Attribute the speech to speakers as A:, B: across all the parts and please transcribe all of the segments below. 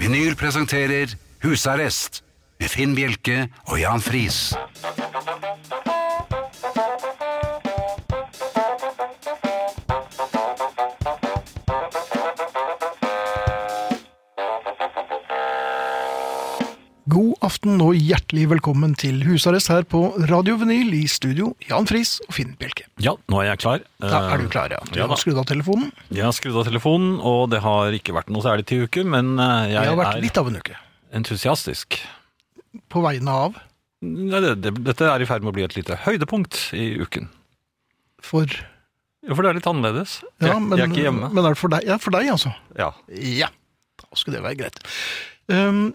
A: Vinyl presenterer Husarrest med Finn Bjelke og Jan Friis.
B: God aften og hjertelig velkommen til husarrest her på Radio Vinyl i studio, Jan Friis og Finn Bjelke.
C: Ja, nå er jeg klar.
B: Da er du klar, ja. Du
C: Eh, ja da.
B: har skrudd av telefonen.
C: Jeg har skrudd av telefonen, og det har ikke vært noe særlig til uke, men eh,
B: Det har
C: jeg
B: vært
C: er
B: litt av en uke.
C: entusiastisk.
B: På vegne av
C: Nei, det, det, dette er i ferd med å bli et lite høydepunkt i uken.
B: for
C: Jo, for det er litt annerledes.
B: Ja,
C: jeg,
B: men,
C: jeg er ikke hjemme.
B: men er det for deg? Ja, for deg, altså.
C: ja.
B: Ja, da skulle det være greit. Ehm,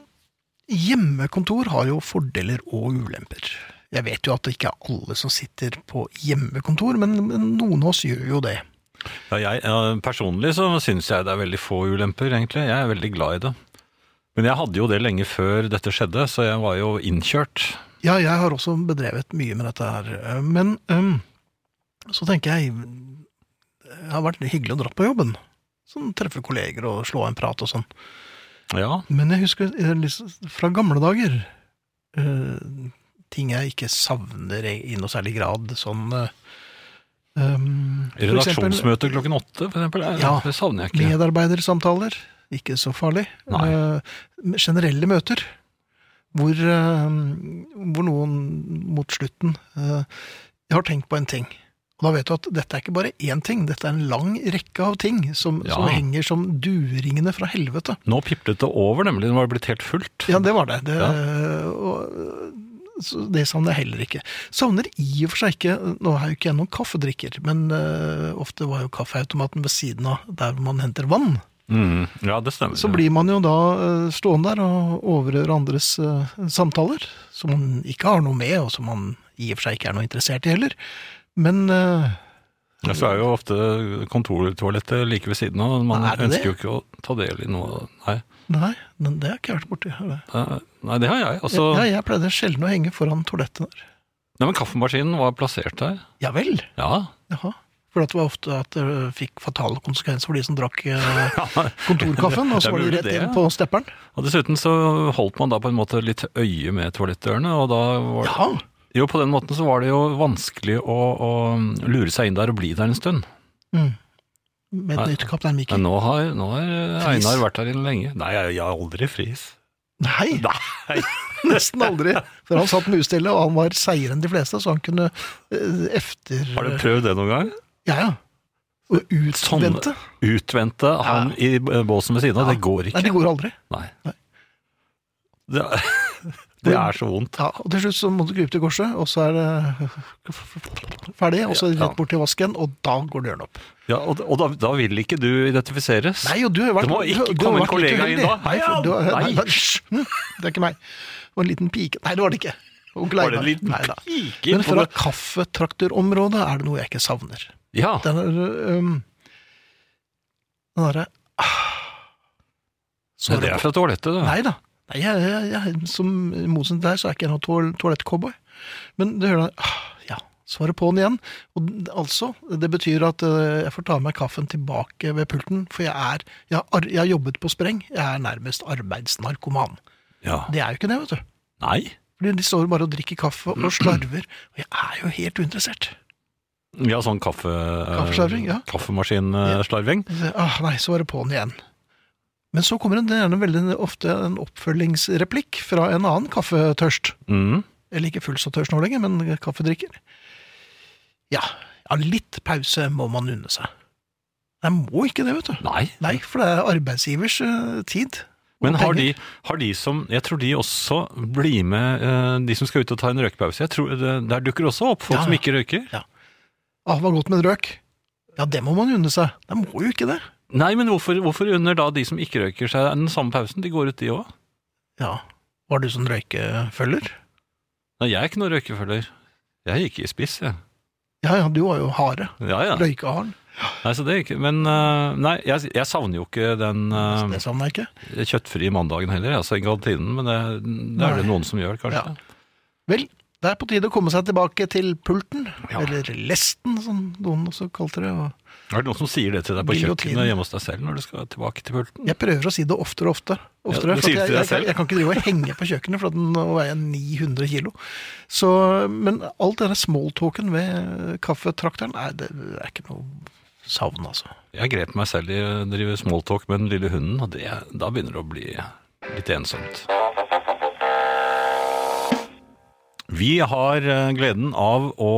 B: hjemmekontor har jo fordeler og ulemper. Jeg vet jo at det ikke er alle som sitter på hjemmekontor, men, men noen av oss gjør jo det.
C: Ja, jeg, ja, personlig så syns jeg det er veldig få ulemper, egentlig. Jeg er veldig glad i det. Men jeg hadde jo det lenge før dette skjedde, så jeg var jo innkjørt.
B: Ja, jeg har også bedrevet mye med dette her. eh, Men ehm, så tenker jeg Det har vært hyggelig å dra på jobben. Sånn treffe kolleger og slå av en prat og sånn.
C: Ja,
B: Men jeg husker eh, liksom, fra gamle dager eh, Ting jeg ikke savner i noe særlig grad. Sånn eh, ehm, for eksempel
C: Redaksjonsmøte klokken åtte, for eksempel. eh,
B: Ja,
C: Det savner jeg ikke.
B: Medarbeidersamtaler. Ikke så farlig.
C: Nei.
B: Eh, generelle møter. Hvor, eh, hvor noen mot slutten eh, Jeg har tenkt på en ting. Og da vet du at dette er ikke bare én ting, dette er en lang rekke av ting som,
C: Ja.
B: som henger som dueringene fra helvete.
C: Nå piplet det over, nemlig. Nå var det blitt helt fullt.
B: Ja, det var det. Det,
C: Ja.
B: og, så det savner jeg heller ikke. Savner i og for seg ikke Nå er jo ikke jeg noen kaffedrikker, men eh, ofte var jo kaffeautomaten ved siden av der man henter vann.
C: Mm, ja, det stemmer.
B: Så blir man jo da eh, stående der og overhøre andres eh, samtaler, som man ikke har noe med, og som man i og for seg ikke er noe interessert i heller. Men eh,
C: Ja, så er jo ofte kontortoalettet like ved siden av. Man
B: Er det det?
C: ønsker jo ikke å ta del i noe Nei,
B: nei, men det har ikke jeg vært borti. har jeg.
C: det- nei det har jeg. Altså,
B: Ja, jeg pleide sjelden å henge foran toalettet der.
C: Nei, men kaffemaskinen var plassert der.
B: Ja vel?
C: Ja.
B: Jaha. For at det var ofte at det fikk fatale konsekvenser for de som drakk eh, kontorkaffen, og så
C: Det
B: var de
C: burde
B: rett
C: det,
B: inn
C: ja.
B: på stepperen.
C: Og dessuten så holdt man da på en måte litt øye med toalettdørene, og da var det
B: Ja,
C: Jo, på den måten så var det jo vanskelig å, å lure seg inn der og bli der en stund.
B: Mm. med et
C: Nei.
B: nytt kaptein Mikkel.
C: Men nå har, nå har
B: Fris.
C: Einar vært der inne lenge. Nei, jeg, jeg er aldri fris.
B: Nei,
C: Nei.
B: nesten aldri. For han satt musstille, og han var seigere enn de fleste, så han kunne eh, efter...
C: Har du Sånn- prøvd det noen gang?
B: Ja, ja. Og utvente.
C: Utvente han i båsen ved siden av, det går
B: Nei,
C: ikke.
B: det går aldri.
C: Nei.
B: Nei.
C: Det, er- det er så vondt.
B: Ja, og til slutt så må du krype til korset, og så er det ferdig, og så
C: Ja, ja.
B: rett bort til vasken, og da går døren opp.
C: Ja, og og da, da vil ikke du identifiseres.
B: Nei, og du har jo vært
C: Det må ikke
B: du- du har
C: komme en
B: vært litt
C: kollega inn
B: uheldig.
C: da.
B: Nei, for du, har-
C: Nei.
B: nei, nei, hysj. Hm, det er ikke meg. Det var en liten pike. Nei, det var det ikke. Onkel
C: Var det
B: Einar.
C: en liten
B: Neida.
C: pike
B: Men
C: på
B: fra
C: det?
B: kaffetraktorområdet er det noe jeg ikke savner.
C: Ja,
B: Den er øhm, Den ah. derre
C: men det er fra toalettet, det.
B: Nei da. Nei, jeg, jeg, jeg, som i motsetning til deg, så er ikke jeg noen toal toalettcowboy. Men du hører da ah, Ja, svaret på'n igjen. Og d- altså, det betyr at eh, jeg får ta med kaffen tilbake ved pulten, for jeg er Jeg har, ar jeg har jobbet på spreng. Jeg er nærmest arbeidsnarkoman.
C: Ja.
B: Det er jo ikke det, vet du.
C: Nei.
B: Fordi De står bare og drikker kaffe og slarver, og jeg er jo helt uinteressert.
C: Ja, sånn kaffe,
B: Kaffeslarving, ja.
C: kaffemaskinslarving.
B: Så, Ah, nei, så var det på'n igjen. Men så kommer det gjerne veldig ofte en oppfølgingsreplikk fra en annen kaffetørst.
C: Mm.
B: Eller ikke fullt så tørst nå lenger, men kaffedrikker. Ja, ja, litt pause må man unne seg. Jeg må ikke det, vet du.
C: Nei.
B: Nei, for det er arbeidsgivers eh, tid.
C: Men
B: Og
C: har de,
B: penger.
C: har de som Jeg tror de også blir med, eh, de som skal ut og ta en røykpause. Jeg tror det, der dukker også opp folk
B: Ja,
C: som
B: ja.
C: ikke røyker.
B: Ah, det var godt med en røk. Ja, det må man unne seg. Jeg må jo ikke det.
C: Nei, men hvorfor, hvorfor unner da de som ikke røyker seg den samme pausen? De går ut, de òg.
B: Ja, var du sånn røykefølger?
C: Nei, jeg er ikke noen røykefølger. Jeg gikk i spiss, jeg.
B: Ja, ja, du var jo hare.
C: Ja, ja.
B: Røykeharen.
C: Nei, så det er ikke, men øh, nei, jeg, jeg savner jo ikke den
B: Så
C: øh,
B: Det savner jeg ikke.
C: kjøttfrie mandagen heller, altså i kantinen, men det, det er det noen som gjør, kanskje.
B: Vel, Det er på tide å komme seg tilbake til pulten,
C: Ja.
B: eller lesten, som noen også kalte det. og...
C: Er det noen som sier det til deg på
B: Giljotinen.
C: kjøkkenet hjemme hos deg selv når du skal tilbake til pulten?
B: Jeg prøver å si det oftere og ofte, oftere.
C: Ja, du
B: for at
C: sier det
B: jeg,
C: til deg
B: jeg,
C: selv.
B: jeg, kan ikke drive og henge på kjøkkenet, for at nå veier jeg 900 kilo. Så, men alt denne smalltalken ved kaffetrakteren, nei, det er ikke noe savn, altså.
C: Jeg grep meg selv i å drive smalltalk med den lille hunden, og det, da begynner det å bli litt ensomt. Vi har eh, gleden av å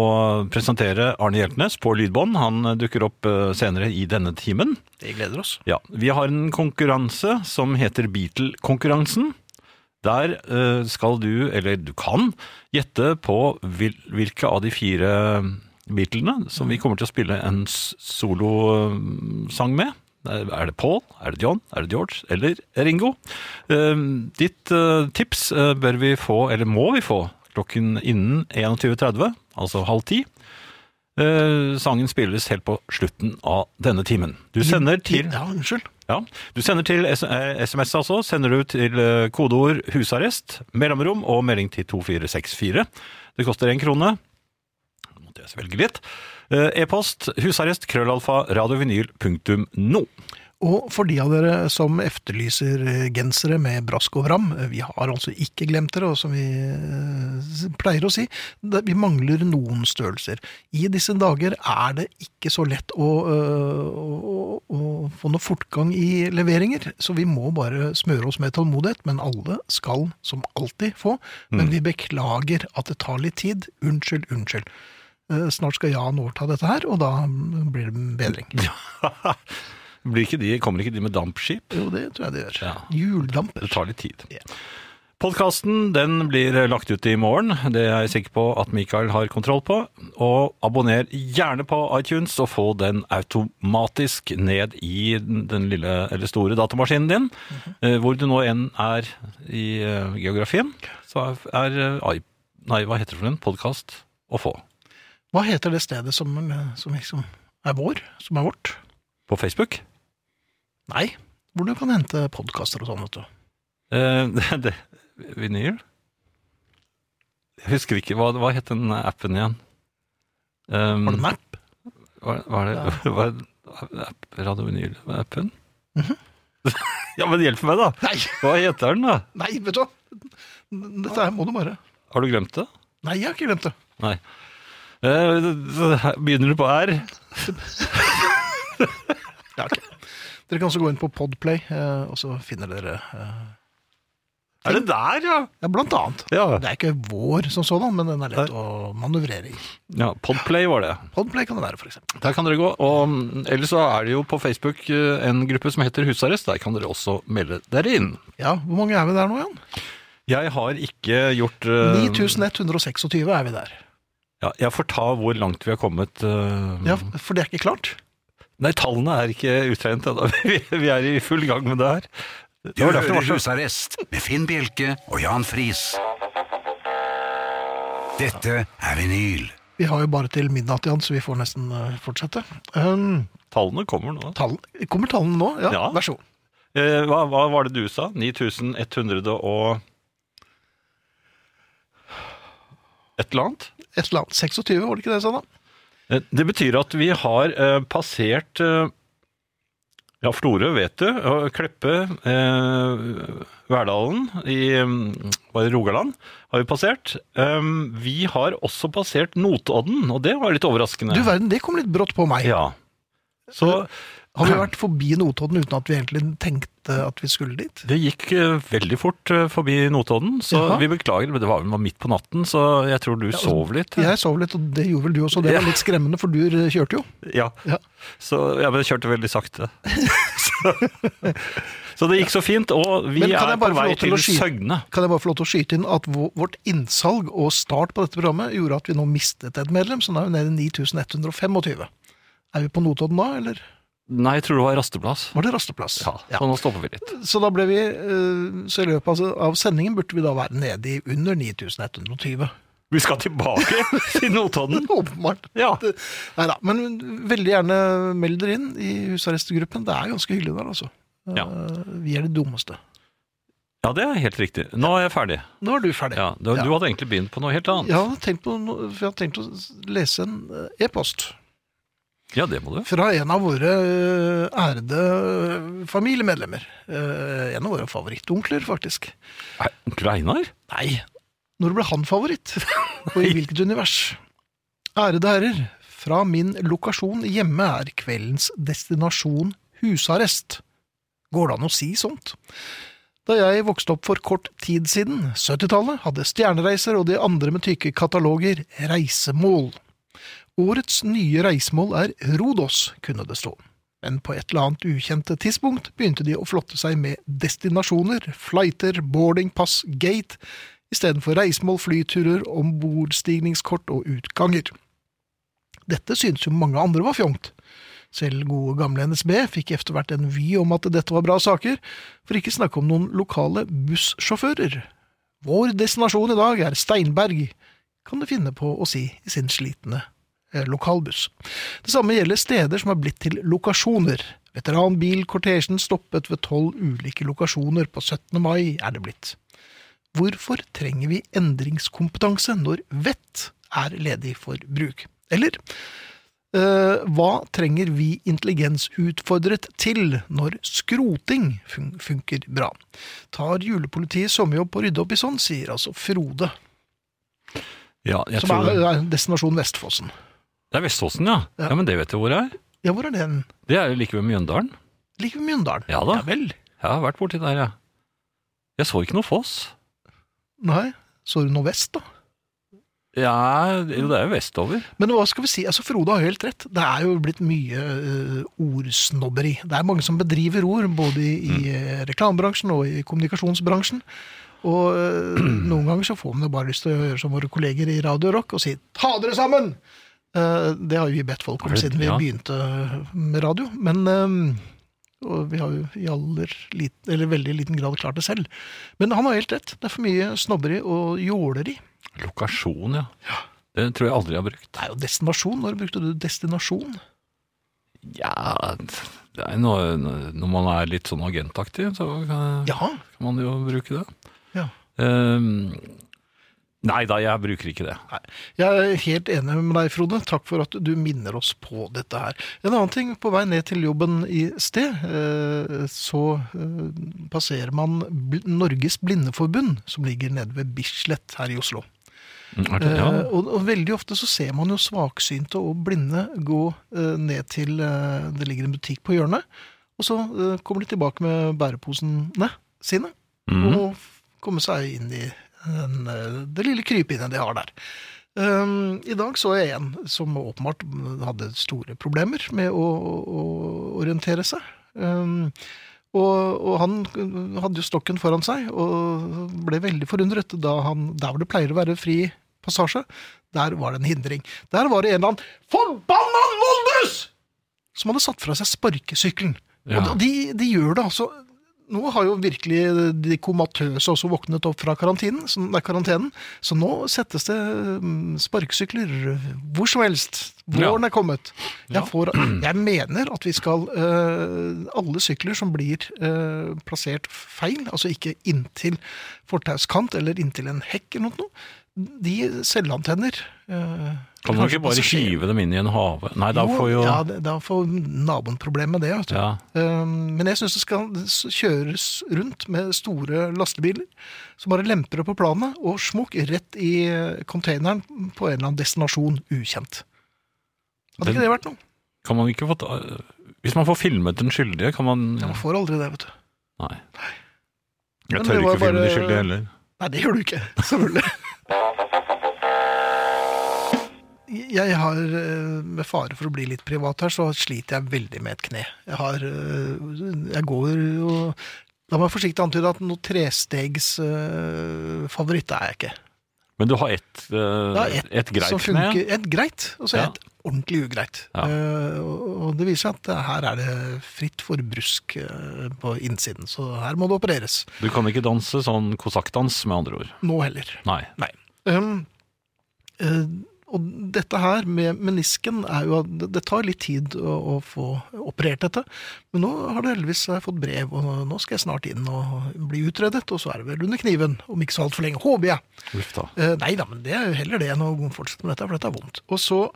C: presentere Arne Hjeltnes på lydbånd. Han eh, dukker opp eh, senere i denne timen.
B: Det gleder oss.
C: Ja, vi har en konkurranse som heter Beatle-konkurransen. Der eh, skal du, eller du kan, gjette på hvil, hvilke av de fire eh, Beatlene som vi kommer til å spille en s- solosang med. Eh, Er det Paul, er det John, er det George eller Ringo? Eh, ditt eh, tips eh, bør vi få, eller må vi få, klokken innen 21.30, altså halv ti. Eh, sangen spilles helt på slutten av denne timen. Du sender til
B: Ja, unnskyld.
C: ja, Du sender til S- eh, SMS, altså. Sender du til eh, kodeord 'husarrest', mellomrom og melding til 2464. Det koster én krone. Nå måtte jeg svelge litt. Eh, E-post husarrest krøllalfa radiovinyl.no.
B: Og for de av dere som efterlyser eh, gensere med brask og bram, eh, vi har altså ikke glemt dere, og som vi eh, s- pleier å si, det- vi mangler noen størrelser. I disse dager er det ikke så lett å, eh, å, å, å få noe fortgang i leveringer, så vi må bare smøre oss med tålmodighet, men alle skal som alltid få. Men vi beklager at det tar litt tid. Unnskyld, unnskyld. Eh, Snart skal Jan overta dette her, og da mm, blir det bedring.
C: Blir ikke de, kommer ikke de med dampskip?
B: Jo, det tror jeg det gjør.
C: Ja.
B: Juldamper.
C: Det tar litt tid.
B: Ja.
C: Podkasten den blir lagt ut i morgen. Det er jeg sikker på at Mikael har kontroll på. Og abonner gjerne på iTunes og få den automatisk ned i den den lille eller store datamaskinen din.
B: Mhm.
C: Eh, Hvor du nå enn er i eh, geografien, så er- er eh, i- Nei, hva heter det for en podkast å få?
B: Hva heter det stedet som, som liksom er vår? Som er vårt?
C: På Facebook?
B: Nei. Hvor du kan hente podkaster og sånn, vet du.
C: Eh, det, det, vinyl? Jeg husker ikke. Hva, hva het den appen igjen? Um,
B: Har du en app?
C: Hva, hva er det? Hva er det? App, Radio Vinyl? Hva er appen? ja, men hjelp meg, da!
B: Nei,
C: Hva heter den, da?
B: nei, vet du hva! Dette her må du bare
C: Har du glemt det?
B: Nei, jeg har ikke glemt det.
C: Nei. Eh, Begynner du på R?
B: Ja, ok. Dere kan også gå inn på Podplay, eh, og så finner dere eh,
C: Er det der, ja?
B: Ja, blant annet.
C: Ja,
B: Det er ikke vår som sådan, men den er lett å manøvrere i.
C: ja Podplay var det.
B: Podplay kan det være, for eksempel.
C: Der kan dere gå. Og mm, ellers så er det jo på Facebook eh, en gruppe som heter Husarrest. Der kan dere også melde dere inn.
B: Ja, hvor mange er vi der nå, Jan?
C: Jeg har ikke gjort eh,
B: 9126 er vi der.
C: Ja, jeg får ta hvor langt vi har kommet. eh,
B: Ja, For det er ikke klart?
C: Nei, tallene er ikke utregnet ennå. Vi- Vi er i full gang med det her.
A: Du
C: Det var derfor det var
A: hører
C: så
A: Husarrest med Finn Bjelke og Jan Friis. Dette er vinyl.
B: Vi har jo bare til midnatt, Jan, så vi får nesten eh, fortsette. Um,
C: Tallene kommer nå.
B: tall, kommer tallene nå? Ja,
C: Ja.
B: vær så god.
C: Eh, hva, hva var det du sa? 9100 og Et eller annet?
B: Et eller annet. 26, var det ikke det jeg sa da?
C: Eh, Det betyr at vi har eh, passert eh, Ja, Florø, vet du. Og Kleppe, eh, Verdalen i mm, var det Rogaland har vi passert. Um, vi har også passert Notodden, og det var litt overraskende.
B: Du verden, det kom litt brått på meg.
C: Ja. Så
B: Har vi vært forbi Notodden uten at vi egentlig tenkte at vi skulle dit?
C: det gikk eh, veldig fort eh, forbi Notodden, så
B: Jaha.
C: vi beklager, men det var, det var midt på natten, så jeg tror du sov litt. Ja.
B: Jeg sov litt, og det gjorde vel du også. Det var
C: Ja.
B: litt skremmende, for du eh, kjørte jo. Ja.
C: Så ja, men jeg kjørte veldig sakte. så, så det gikk så fint, og vi
B: Men kan jeg
C: er på
B: bare få
C: vei
B: lov til
C: til
B: å skyte?
C: Søgne.
B: Kan jeg bare få lov til å skyte inn at vå- vårt innsalg og start på dette programmet gjorde at vi nå mistet et medlem, så nå er vi nede i 9125. Er vi på Notodden da, eller
C: Nei, jeg tror det var rasteplass.
B: var det rasteplass?
C: Ja, Så nå stopper vi litt.
B: Så da ble vi, eh, så i løpet av- av sendingen burde vi da være nede i under 9120.
C: Vi skal tilbake til Notodden.
B: Åpenbart.
C: Ja.
B: Nei da, men veldig gjerne meld dere inn i husarrestgruppen. Det er ganske hyggelig der, altså.
C: Ja.
B: Eh, Vi er de dummeste.
C: ja, Ja, det er helt riktig. Nå er jeg ferdig.
B: Nå er du ferdig.
C: Ja, du, du hadde egentlig begynt på noe helt annet.
B: Jeg hadde tenkt på noe, for jeg hadde tenkt å s- lese en eh, e-post
C: Ja, det må du.
B: fra en av våre eh, ærede eh, familiemedlemmer. Eh, En av våre favorittonkler, faktisk.
C: Er Onkel Einar?
B: Nei, når ble han favoritt? Og i hvilket univers? Ærede herrer, fra min lokasjon hjemme er kveldens destinasjon husarrest. Går det an å si sånt? Da jeg vokste opp for kort tid siden, 70-tallet, hadde Stjernereiser og de andre med tykke kataloger reisemål. Årets nye reisemål er Rodos, kunne det stå. Men på et eller annet ukjente tidspunkt begynte de å flotte seg med destinasjoner, flighter, boarding, pass, gate, istedenfor reisemål, flyturer, ombordstigningskort og utganger. Dette syntes jo mange andre var fjongt. Selv gode gamle NSB fikk etter hvert en vy om at dette var bra saker, for ikke snakke om noen lokale bussjåfører. Vår destinasjon i dag er Steinberg, kan de finne på å si i sin slitne eh, lokalbuss. Det samme gjelder steder som har blitt til lokasjoner. Veteranbilkortesjen stoppet ved tolv ulike lokasjoner på 17. mai er det blitt. Hvorfor trenger vi endringskompetanse når vett er ledig for bruk? Eller eh, hva trenger vi intelligensutfordret til når skroting fun funker bra? Tar julepolitiet sommerjobb på å rydde opp i sånn, sier altså Frode,
C: Ja, jeg
B: som
C: tror
B: er,
C: det.
B: er Destinasjon Vestfossen.
C: Det er Veståsen, ja.
B: Ja.
C: Ja, men det vet du hvor det er.
B: Ja, hvor er den?
C: Det er jo like ved Mjøndalen.
B: Like ved Mjøndalen.
C: Ja da.
B: Ja vel.
C: Jeg har vært borti der, jeg. Jeg så ikke noe foss.
B: Nei, så er det noe vest, da.
C: Ja, jo, det er jo vestover.
B: Men hva skal vi si? Altså, Frode har jo helt rett. Det er jo blitt mye eh, ordsnobberi. Det er mange som bedriver ord, både i,
C: Mm.
B: i eh, reklamebransjen og i kommunikasjonsbransjen. Og eh, noen ganger så får man jo bare lyst til å gjøre som våre kolleger i Radio Rock og si 'ta dere sammen'! Eh, det har jo vi bedt folk om
C: Er det-
B: siden vi
C: ja.
B: begynte eh, med radio. Men eh, og vi har jo i aller liten, eller veldig liten grad klart det selv. Men han har helt rett. Det er for mye snobberi og jåleri.
C: Lokasjon, ja. Det tror jeg aldri jeg har brukt.
B: Det er jo destinasjon. Når brukte du destinasjon?
C: Ja, det er noe, når man er litt sånn agentaktig, så kan,
B: Ja,
C: kan man jo bruke det.
B: Ja.
C: Ehm, nei da, jeg bruker ikke det.
B: Jeg er helt enig med deg, Frode. Takk for at du minner oss på dette her. En annen ting, på vei ned til jobben i sted, eh, så eh, passerer man Bl- Norges Blindeforbund, som ligger nede ved Bislett her i Oslo.
C: Mm, Er det ja.
B: Eh, Og, og veldig ofte så ser man jo svaksynte og blinde gå eh, ned til eh, Det ligger en butikk på hjørnet, og så eh, kommer de tilbake med bæreposene sine
C: Mhm.
B: og komme seg inn i den, eh, det lille krypinnet de har der. Um, I dag så jeg en som åpenbart hadde store problemer med å, å orientere seg. Um, og, og han hadde jo stokken foran seg, og ble veldig forundret da han Der hvor det pleier å være fri passasje, der var det en hindring. Der var det en eller annen forbanna Moldus! Som hadde satt fra seg sparkesykkelen.
C: Ja.
B: Og de, de gjør det altså nå har jo virkelig de komatøse også våknet opp fra karantinen, så, nei, karantenen, så nå settes det mm, sparkesykler hvor som helst. Våren er kommet. Jeg,
C: Ja.
B: får, jeg mener at vi skal eh, Alle sykler som blir eh, plassert feil, altså ikke inntil fortauskant eller inntil en hekk eller noe, de selvantenner eh,
C: Kan man
B: kanskje
C: ikke bare
B: passasjer-
C: skyve dem inn i en hage? Nei, da får jo
B: Ja,
C: ja,
B: det- da får naboen problem med det. Vet du. Um, Men jeg syns det skal s- kjøres rundt med store lastebiler som bare lemper på planet og smukk rett i eh, containeren på en eller annen destinasjon ukjent. Hadde
C: Den-
B: ikke det vært noe?
C: Kan man ikke få ta Hvis man får filmet den skyldige, kan man
B: Man får aldri det, vet du.
C: Nei.
B: Men
C: Jeg
B: det
C: tør
B: var
C: ikke filme de
B: bare-
C: skyldige heller.
B: Nei, det gjør du ikke. Selvfølgelig. Jeg har, eh, med fare for å bli litt privat her, så sliter jeg veldig med et kne. Jeg har eh, Jeg går og La meg forsiktig antyde at noe trestegs eh, favoritt er jeg ikke.
C: Men du har ett
B: Det
C: eh,
B: er
C: ett et greit
B: som
C: kne?
B: funker. Et greit, og så
C: Ja.
B: et ordentlig ugreit.
C: Ja.
B: Eh, og- og det viser seg at eh, her er det fritt for brusk eh, på innsiden, så her må det opereres.
C: Du kan ikke danse sånn kosakkdans, med andre ord.
B: Nå heller.
C: Nei.
B: Um, eh, Og dette her med menisken er jo at det- Det tar litt tid å, å få operert dette. Men nå har det heldigvis jeg har fått brev, og nå skal jeg snart inn og bli utredet. Og så er det vel under kniven, om ikke så altfor lenge. Håper jeg.
C: Uff da.
B: Eh, nei da, men det er jo heller det enn å fortsette med dette, for dette er vondt. Og så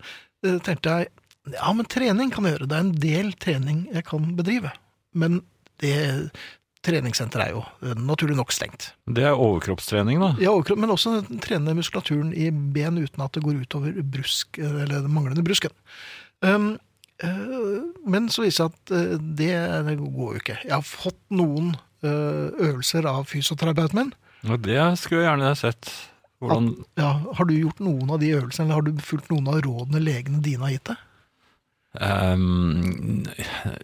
B: eh, tenkte jeg ja, men trening kan jeg gjøre. Det er en del trening jeg kan bedrive. Men det treningssenteret er jo eh, naturlig nok stengt.
C: Det er overkroppstrening, da.
B: Ja, overkropp, men også trene muskulaturen i ben uten at det går utover brusk, eh, eller den manglende brusken. Um, eh, men så viser det seg at eh, det går jo ikke. Jeg har fått noen eh, øvelser av fysioterapeuten min.
C: Ja, det skulle jeg gjerne sett. Hvordan
B: Ja, har du gjort noen av de øvelsene, eller har du fulgt noen av rådene legene dine har gitt deg?
C: ehm,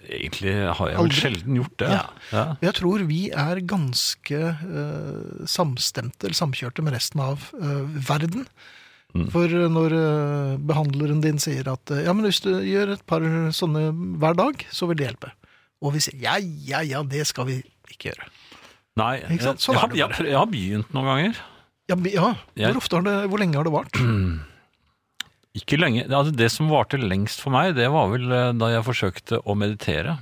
C: Egentlig har jeg vel
B: Aldri.
C: sjelden gjort det.
B: Ja.
C: Ja.
B: Jeg tror vi er ganske eh, samstemte, eller samkjørte med resten av eh, verden.
C: Mm.
B: For når eh, behandleren din sier at eh, ja, men hvis du gjør et par sånne hver dag, så vil det hjelpe. Og vi sier ja, ja, ja, det skal vi ikke gjøre.
C: Nei,
B: Ikke sant? Sånn
C: jeg,
B: er
C: har-
B: det
C: jeg, har- jeg har begynt noen ganger.
B: Ja, men- ja.
C: Jeg-
B: Hvor, ofte har det, hvor lenge har det vart?
C: Ikke lenge. Altså, det som varte lengst for meg, det var vel eh, da jeg forsøkte å meditere.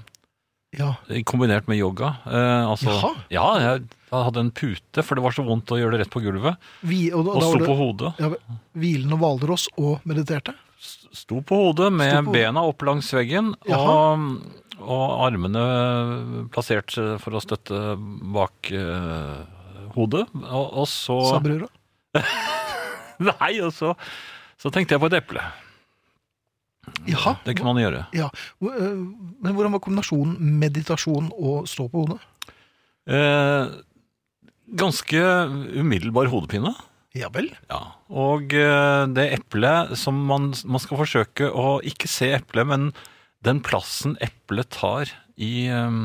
B: Ja,
C: Kombinert med yoga. Eh, altså,
B: Jaha.
C: Ja, jeg hadde en pute, for det var så vondt å gjøre det rett på gulvet.
B: vi, og, da-
C: Og
B: da var
C: sto
B: det-
C: på hodet.
B: ja, Hvilen og Hvalross og mediterte?
C: S- Sto på hodet med
B: Sto på-
C: bena opp langs veggen og, og armene plassert eh, for å støtte bak eh, hodet. Og, og så
B: Sa brura.
C: Nei, og så, så tenkte jeg på et eple.
B: Jaha.
C: Det kunne man gjøre.
B: Ja, hvor- eh, Men hvordan var kombinasjonen meditasjon og stå på hodet?
C: Eh, ganske umiddelbar hodepine.
B: Ja vel?
C: Ja, og eh, det eplet som man, man skal forsøke å ikke se eplet, men den plassen eplet tar i, eh,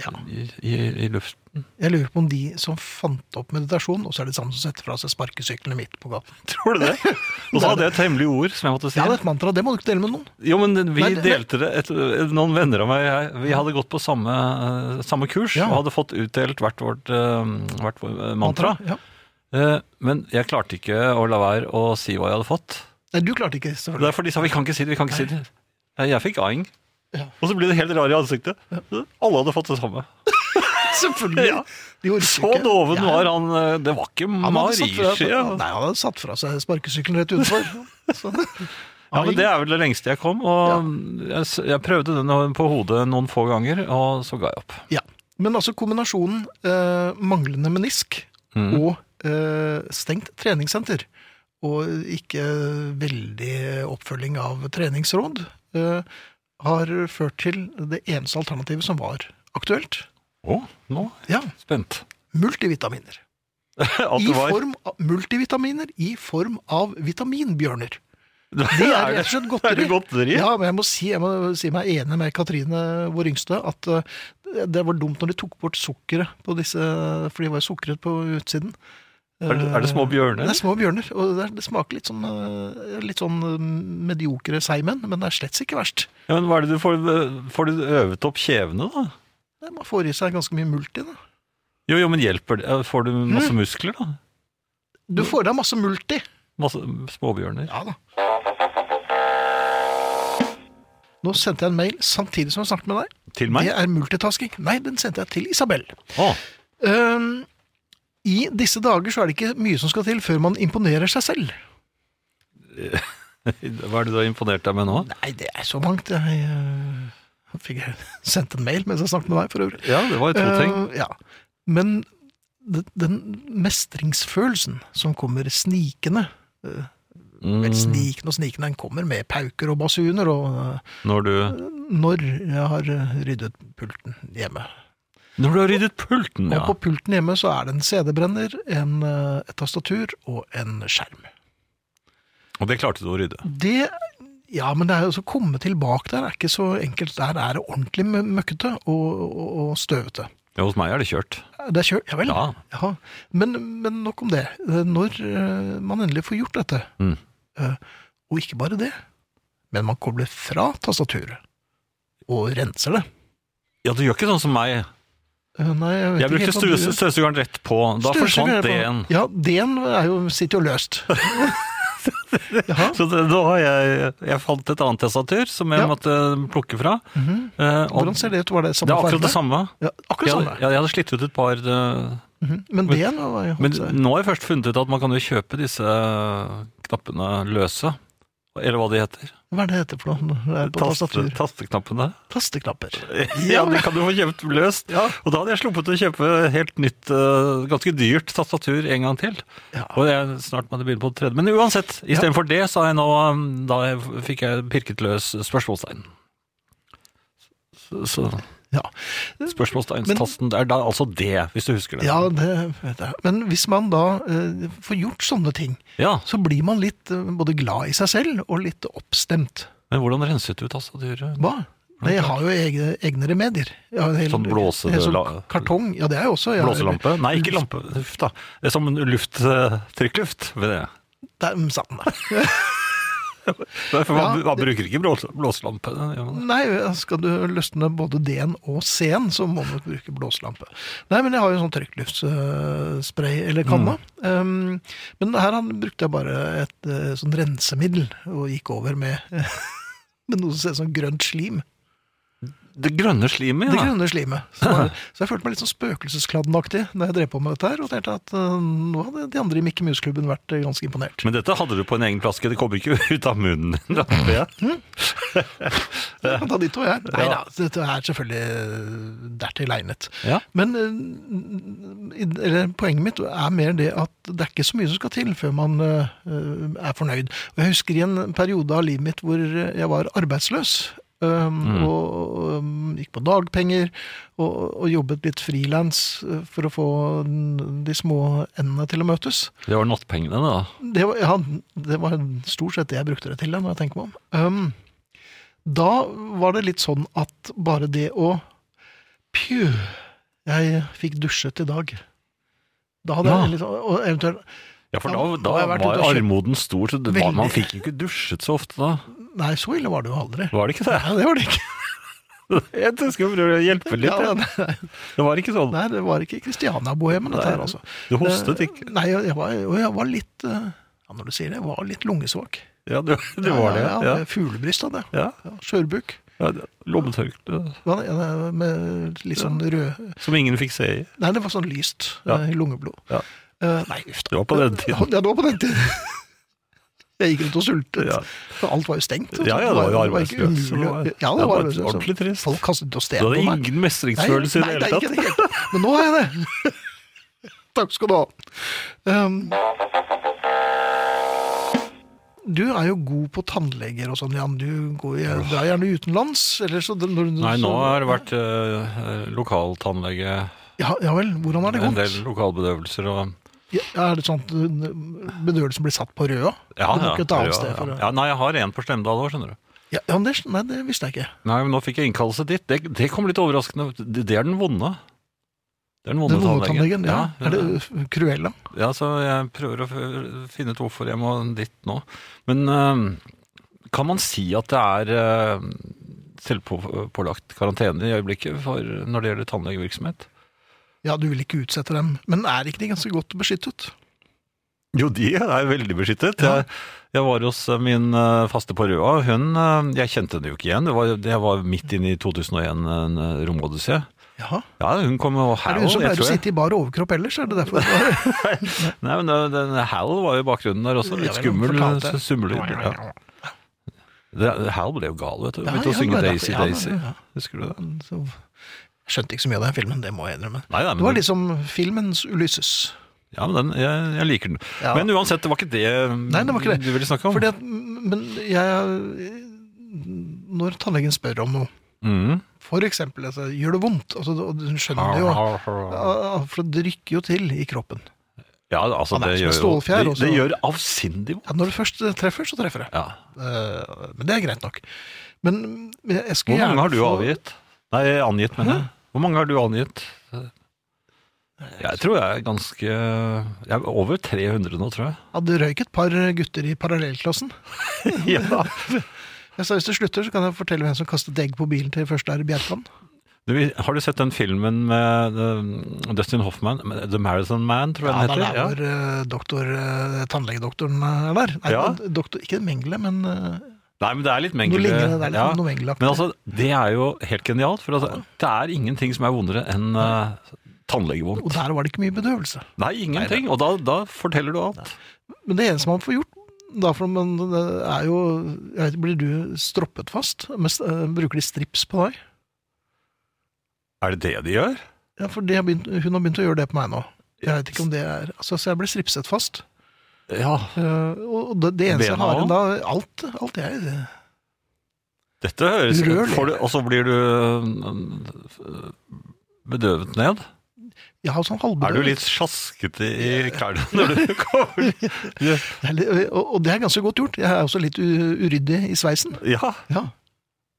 B: Ja.
C: i, i, i luften.
B: Jeg lurer på om de som fant opp meditasjon, og så er det de samme som setter fra seg sparkesyklene midt på gaten.
C: Tror du det? Og så hadde jeg et hemmelig ord som jeg måtte si.
B: Ja, det er et mantra, det må du ikke dele med noen.
C: Jo, men vi
B: Nei, det-
C: delte det. Et, noen venner av meg og jeg, vi hadde gått på samme, eh, samme kurs
B: Ja.
C: og hadde fått utdelt hvert vårt, eh, hvert vårt eh, mantra.
B: Ja.
C: Eh, Men jeg klarte ikke å la være å si hva jeg hadde fått.
B: Nei, du klarte ikke,
C: Og
B: selvfølgelig.
C: Derfor de sa vi kan ikke si det, vi kan ikke si det. Nei, Jeg fikk aing.
B: Ja.
C: Og så ble det helt rar i ansiktet. Alle hadde fått det samme.
B: selvfølgelig. Sånn
C: Ja.
B: De orker
C: Så
B: ikke.
C: doven
B: Ja.
C: var han. eh, Det var ikke
B: Han hadde satt fra-
C: Mariskje.
B: Nei, han hadde satt fra seg sparkesykkelen rett utenfor. Sånn. Så.
C: Ja, men det er vel det lengste jeg kom. Og jeg, s- jeg prøvde den på hodet noen få ganger, og så ga jeg opp.
B: Ja. Men altså kombinasjonen eh, manglende menisk
C: Mm.
B: og eh, stengt treningssenter, og ikke veldig oppfølging av treningsråd, eh, har ført til det eneste alternativet som var aktuelt.
C: Å, nå er
B: Ja,
C: jeg spent.
B: multivitaminer.
C: At
B: I
C: det var
B: form av, multivitaminer i form av vitaminbjørner.
C: Det
B: Det er
C: er
B: rett og
C: det.
B: slett
C: Er
B: godteri.
C: det godteri?
B: Ja, men jeg må si, jeg må si meg enig med Katrine, vår yngste, at eh, det var dumt når de tok bort sukkeret på disse, for de var jo sukret på utsiden. Eh,
C: Er det, er det små
B: Det
C: bjørner?
B: er små bjørner, og det, er, det smaker litt sånn, eh, litt sånn eh, mediokre seigmenn, men det er slett ikke verst.
C: Ja, men hva er det du får, får du øvet opp kjevene, da?
B: Nei, Man får i seg ganske mye multi, da.
C: Jo, jo, men hjelper det? Får du masse
B: Mm.
C: muskler, da?
B: Du får i deg masse multi.
C: Masse småbjørner?
B: Ja da. Nå sendte jeg en mail samtidig som jeg snakket med deg.
C: Til meg?
B: Det er multitasking. Nei, den sendte jeg til Isabel.
C: Å,
B: Ehm, I disse dager så er det ikke mye som skal til før man imponerer seg selv.
C: hva er det du har imponert deg med nå?
B: Nei, det er så mangt. Jeg eh, fikk sendt en mail mens jeg snakket med deg, for øvrig.
C: Ja, det var jo to ting.
B: Eh, ja. Men den, den mestringsfølelsen som kommer snikende
C: Mm,
B: Vel, snikende og snikende, den kommer med pauker og basuner, og eh,
C: Når du,
B: når jeg har eh, ryddet pulten hjemme.
C: når du har ryddet pulten, ja.
B: Og på pulten hjemme så er det en CD-brenner, en, eh, et tastatur og en skjerm.
C: Og det klarte du å rydde.
B: Det Ja, men det er jo så å komme tilbake der er ikke så enkelt. Der er det ordentlig mø- møkkete og, og, og støvete.
C: Ja, hos meg er det kjørt.
B: Det er kjørt, ja vel.
C: Ja.
B: Ja. Men, men nok om det. Eh, Når eh, man endelig får gjort dette,
C: Mm.
B: eh, og ikke bare det, men man kobler fra tastaturet og renser det
C: Ja, du gjør ikke sånn som meg.
B: Eh, Nei, jeg vet
C: Jeg brukte
B: ikke helt hva du gjør.
C: støvs- støvsugeren rett på. Da
B: Støvsuger
C: forsvant
B: er på-
C: D-en.
B: Ja, D-en er jo, sitter jo løst. Jaha.
C: Så det, da har jeg, jeg fant et annet testatur som jeg
B: Ja. Mhm.
C: måtte plukke fra. Eh, og
B: Hvordan ser det ut? Var det
C: det
B: samme
C: er akkurat det
B: farge?
C: samme.
B: Ja, akkurat
C: Jeg,
B: samme.
C: hadde- ja, jeg hadde slitt ut et par eh,
B: Mhm. Men det nå var jo
C: Men nå har jeg først funnet ut at man kan jo kjøpe disse knappene løse. Eller hva de heter.
B: Hva er det det heter for noe? Det er på
C: Taste-
B: tastatur.
C: Tasteknappene.
B: Tasteknapper.
C: Ja, de kan du få kjøpt løst.
B: Ja.
C: Og da hadde jeg sluppet å kjøpe helt nytt, eh, ganske dyrt tastatur en gang til.
B: Ja.
C: Og jeg snart måtte begynne på det tredje. Men uansett, istedenfor det, så har jeg nå um, Da jeg- fikk jeg pirket løs spørsmålstegn. Så, så
B: Ja.
C: spørsmålstegnstasten det er da altså det, hvis du husker det.
B: ja, det vet jeg. Men hvis man da eh, får gjort sånne ting,
C: Ja,
B: så blir man litt eh, både glad i seg selv og litt oppstemt.
C: Men hvordan renset du tastaturet?
B: Hva? Nei, jeg har jo egne, egne remedier. Jeg har en hel-
C: Sånn blåse-
B: en
C: la-
B: sånn kartong. Ja, det er jo også. jeg har-
C: Blåselampe? Nei, ikke lampe. Uff da. Det er som luft, eh, trykkluft. ved det.
B: Der mm, satt den der.
C: Derfor, man,
B: Ja,
C: man bruker ikke blås- blåselampe. det gjør man.
B: Nei, skal du løsne både D-en og C-en, så må du bruke blåselampe. Nei, men jeg har jo en sånn trykkluftspray eller kanne.
C: Mm.
B: Um, men her han, brukte jeg bare et eh, sånn rensemiddel, og gikk over med, med noe som ser ut som grønt slim.
C: Det grønne slimet,
B: Det
C: ja.
B: grønne slimet. Så, var det- så jeg følte meg litt sånn spøkelseskladden-aktig da jeg drev på med dette her, og tenkte at eh, nå hadde de andre i Mikke Mus-klubben vært eh, ganske imponert.
C: Men dette hadde du på en egen flaske, det kommer ikke ut av munnen din. håper jeg.
B: Jeg kan ta de to, jeg. Nei da,
C: Ja.
B: dette er selvfølgelig dertil egnet.
C: Ja.
B: Men eh, i- eller, poenget mitt er mer det at det er ikke så mye som skal til før man eh, er fornøyd. Og jeg husker i en periode av livet mitt hvor eh, jeg var arbeidsløs. Um, Og um, gikk på dagpenger og, og jobbet litt frilans eh, for å få de små endene til å møtes.
C: Det var nattpengene, da.
B: Det var, ja, det var stort sett det jeg brukte det til, da, når jeg tenker meg om. Um, da var det litt sånn at bare det å Pju, jeg fikk dusjet i dag. Da hadde
C: Ja.
B: jeg litt, og eventuelt
C: Ja, for da,
B: Ja,
C: da
B: da har jeg vært
C: var
B: ute og kjøpt-
C: armoden stor, så det var,
B: Veldig.
C: man fikk jo ikke dusjet så ofte da.
B: Nei, så ille var det jo aldri.
C: Var det ikke det?
B: Nei, det var det ikke.
C: Jeg skal prøve å hjelpe litt.
B: Ja,
C: jeg.
B: nei,
C: Det var ikke sånn.
B: nei, det var ikke Kristiania-bohemen, dette her, altså.
C: Du hostet ikke.
B: Nei, jeg var, og jeg var litt eh, ja, Når du sier det, jeg var litt lungesvak.
C: Ja, du, du var det.
B: Ja, ja,
C: Ja,
B: Fuglebryst hadde jeg.
C: ja.
B: Ja, Skjørbuk.
C: ja. Lommetørkle
B: Ja, ja, eh, Med litt sånn rød
C: som ingen fikk se i.
B: Nei, det var sånn lyst
C: Ja.
B: eh, i lungeblod.
C: Ja.
B: Eh, nei, uff da.
C: Det var på den tiden.
B: Ja, det var på den tiden. Jeg gikk rundt og sultet.
C: Ja.
B: For alt var jo stengt. og
C: Ja,
B: sånt.
C: ja, det var jo
B: ikke
C: arbeidsløs,
B: umulig
C: det var-
B: å- Ja,
C: det
B: det
C: var
B: var arbeidsløs.
C: ordentlig trist.
B: Folk kastet og
C: Du
B: sten
C: hadde
B: på meg.
C: ingen mestringsfølelse i
B: Nei,
C: det
B: nei,
C: hele
B: ikke
C: tatt.
B: det hele tatt. Men nå har jeg det. Takk skal du ha. Ehm, du er jo god på tannleger og sånn, Jan. Du går jo- drar gjerne utenlands. Eller så, når,
C: Nei, nå
B: så-
C: har det vært eh, lokaltannlege,
B: ja, ja vel, hvordan har det
C: en del
B: gått?
C: lokalbedøvelser og
B: Ja, er det sånn at uh, bedøvelsen blir satt på røda?
C: Ja,
B: Det er nok et annet
C: ja,
B: sted for
C: ja.
B: det.
C: ja, Nei, jeg har en på Slemdal òg, skjønner du.
B: Ja, ja, men det, nei, det visste jeg ikke.
C: Nei, men nå fikk jeg innkallelse dit. Det, det kom litt overraskende. Det, det er den vonde. Det er den vonde
B: Den vonde tannlegen, ja.
C: Ja,
B: Er det uh, Cruella?
C: ja, så jeg prøver å f- finne ut hvorfor jeg må dit nå. Men eh, kan man si at det er uh, selvpålagt karantene i øyeblikket for når det gjelder tannlegevirksomhet?
B: Ja, du vil ikke utsette dem. Men er ikke de ganske godt beskyttet?
C: Jo, de er veldig beskyttet. Jeg, jeg var hos min eh, faste på Røa. Hun, eh, jeg kjente henne jo ikke igjen. Det var, det var midt inne i 2001, en eh, romodyssé.
B: Jaha.
C: Ja, hun kom og
B: Er det hun som
C: jeg
B: pleier å
C: tror jeg-
B: sitte i bar overkropp ellers? Er det derfor?
C: Nei, men det- den Hal var jo i bakgrunnen der også. Altså, Litt
B: Ja, vel, hun
C: skummel.
B: fortalte.
C: Summelyd. Ja. Det- Hal ble jo gal, vet du.
B: Ja,
C: Begynte å
B: ja,
C: synge
B: det var
C: Daisy
B: derfor. Ja,
C: Daisy.
B: ja, ja.
C: Husker du det?
B: Så, jeg skjønte ikke så mye av den filmen, det må jeg innrømme.
C: Nei, nei,
B: Det var
C: men, den-
B: liksom filmens Ulysses.
C: ja, men den, jeg, jeg liker den.
B: Ja.
C: Men uansett, det var ikke det, mm,
B: Nei, det var ikke det.
C: du ville snakke om.
B: Fordi at, men jeg Når tannlegen spør om noe,
C: Mm.
B: for eksempel, altså, gjør det vondt? Altså, og hun skjønner det jo.
C: Ah,
B: Ja, For det rykker jo til i kroppen.
C: Ja, altså,
B: Han er som en
C: det gjør,
B: stålfjær
C: jo- det, det
B: også.
C: gjør avsindig vondt.
B: Ja, når du først treffer, så treffer det.
C: Ja.
B: Eh, Men det er greit nok. Men jeg skulle
C: Hvor mange
B: gjerne
C: har du
B: få-
C: avgitt? Nei, angitt, mener jeg. Hvor mange har du angitt? Jeg tror jeg er ganske Jeg er over 300 nå, tror jeg.
B: Ja, det røyk et par gutter i parallellklassen.
C: Ja.
B: Jeg sa hvis det slutter, så kan jeg fortelle hvem som kastet egg på bilen til første her i Bjerkan.
C: Du, vi- har du sett den filmen med eh, Dustin Hoffman, med The Marathon Man, tror
B: Ja,
C: jeg den
B: det er
C: heter?
B: der hvor eh, doktor, eh, tannlegedoktoren er der. Nei,
C: Ja.
B: doktor, ikke Mengele, men eh,
C: Nei, men det er litt
B: noe
C: Mengele.
B: lignende. Det er liksom? litt
C: ja.
B: noe Mengele-aktig.
C: Men altså, det er jo helt genialt, for altså, det er ingenting som er vondere enn eh, tannlegevondt.
B: Og der var det ikke mye bedøvelse.
C: Nei, ingenting, og da, da forteller du alt.
B: Men det eneste man får gjort da, for man det er jo jeg vet, ikke, Blir du stroppet fast? Med, st- eh, bruker de strips på deg?
C: Er det det de gjør?
B: Ja, for de har begynt, hun har begynt å gjøre det på meg nå. Jeg vet ikke om det er altså, Så jeg ble stripset fast.
C: Ja.
B: Eh, og det, det eneste jeg
C: Bena
B: har igjen da
C: også?
B: Alt, alt jeg det-
C: Dette høres
B: Urørlig.
C: får du, Og så blir du eh, bedøvet ned.
B: Jeg har sånn halvbedøvet.
C: Er du litt sjaskete i klærne når du kommer?
B: Jeg er litt- Og, og det er ganske godt gjort. Jeg er også litt u, uryddig i sveisen.
C: Ja.
B: Ja.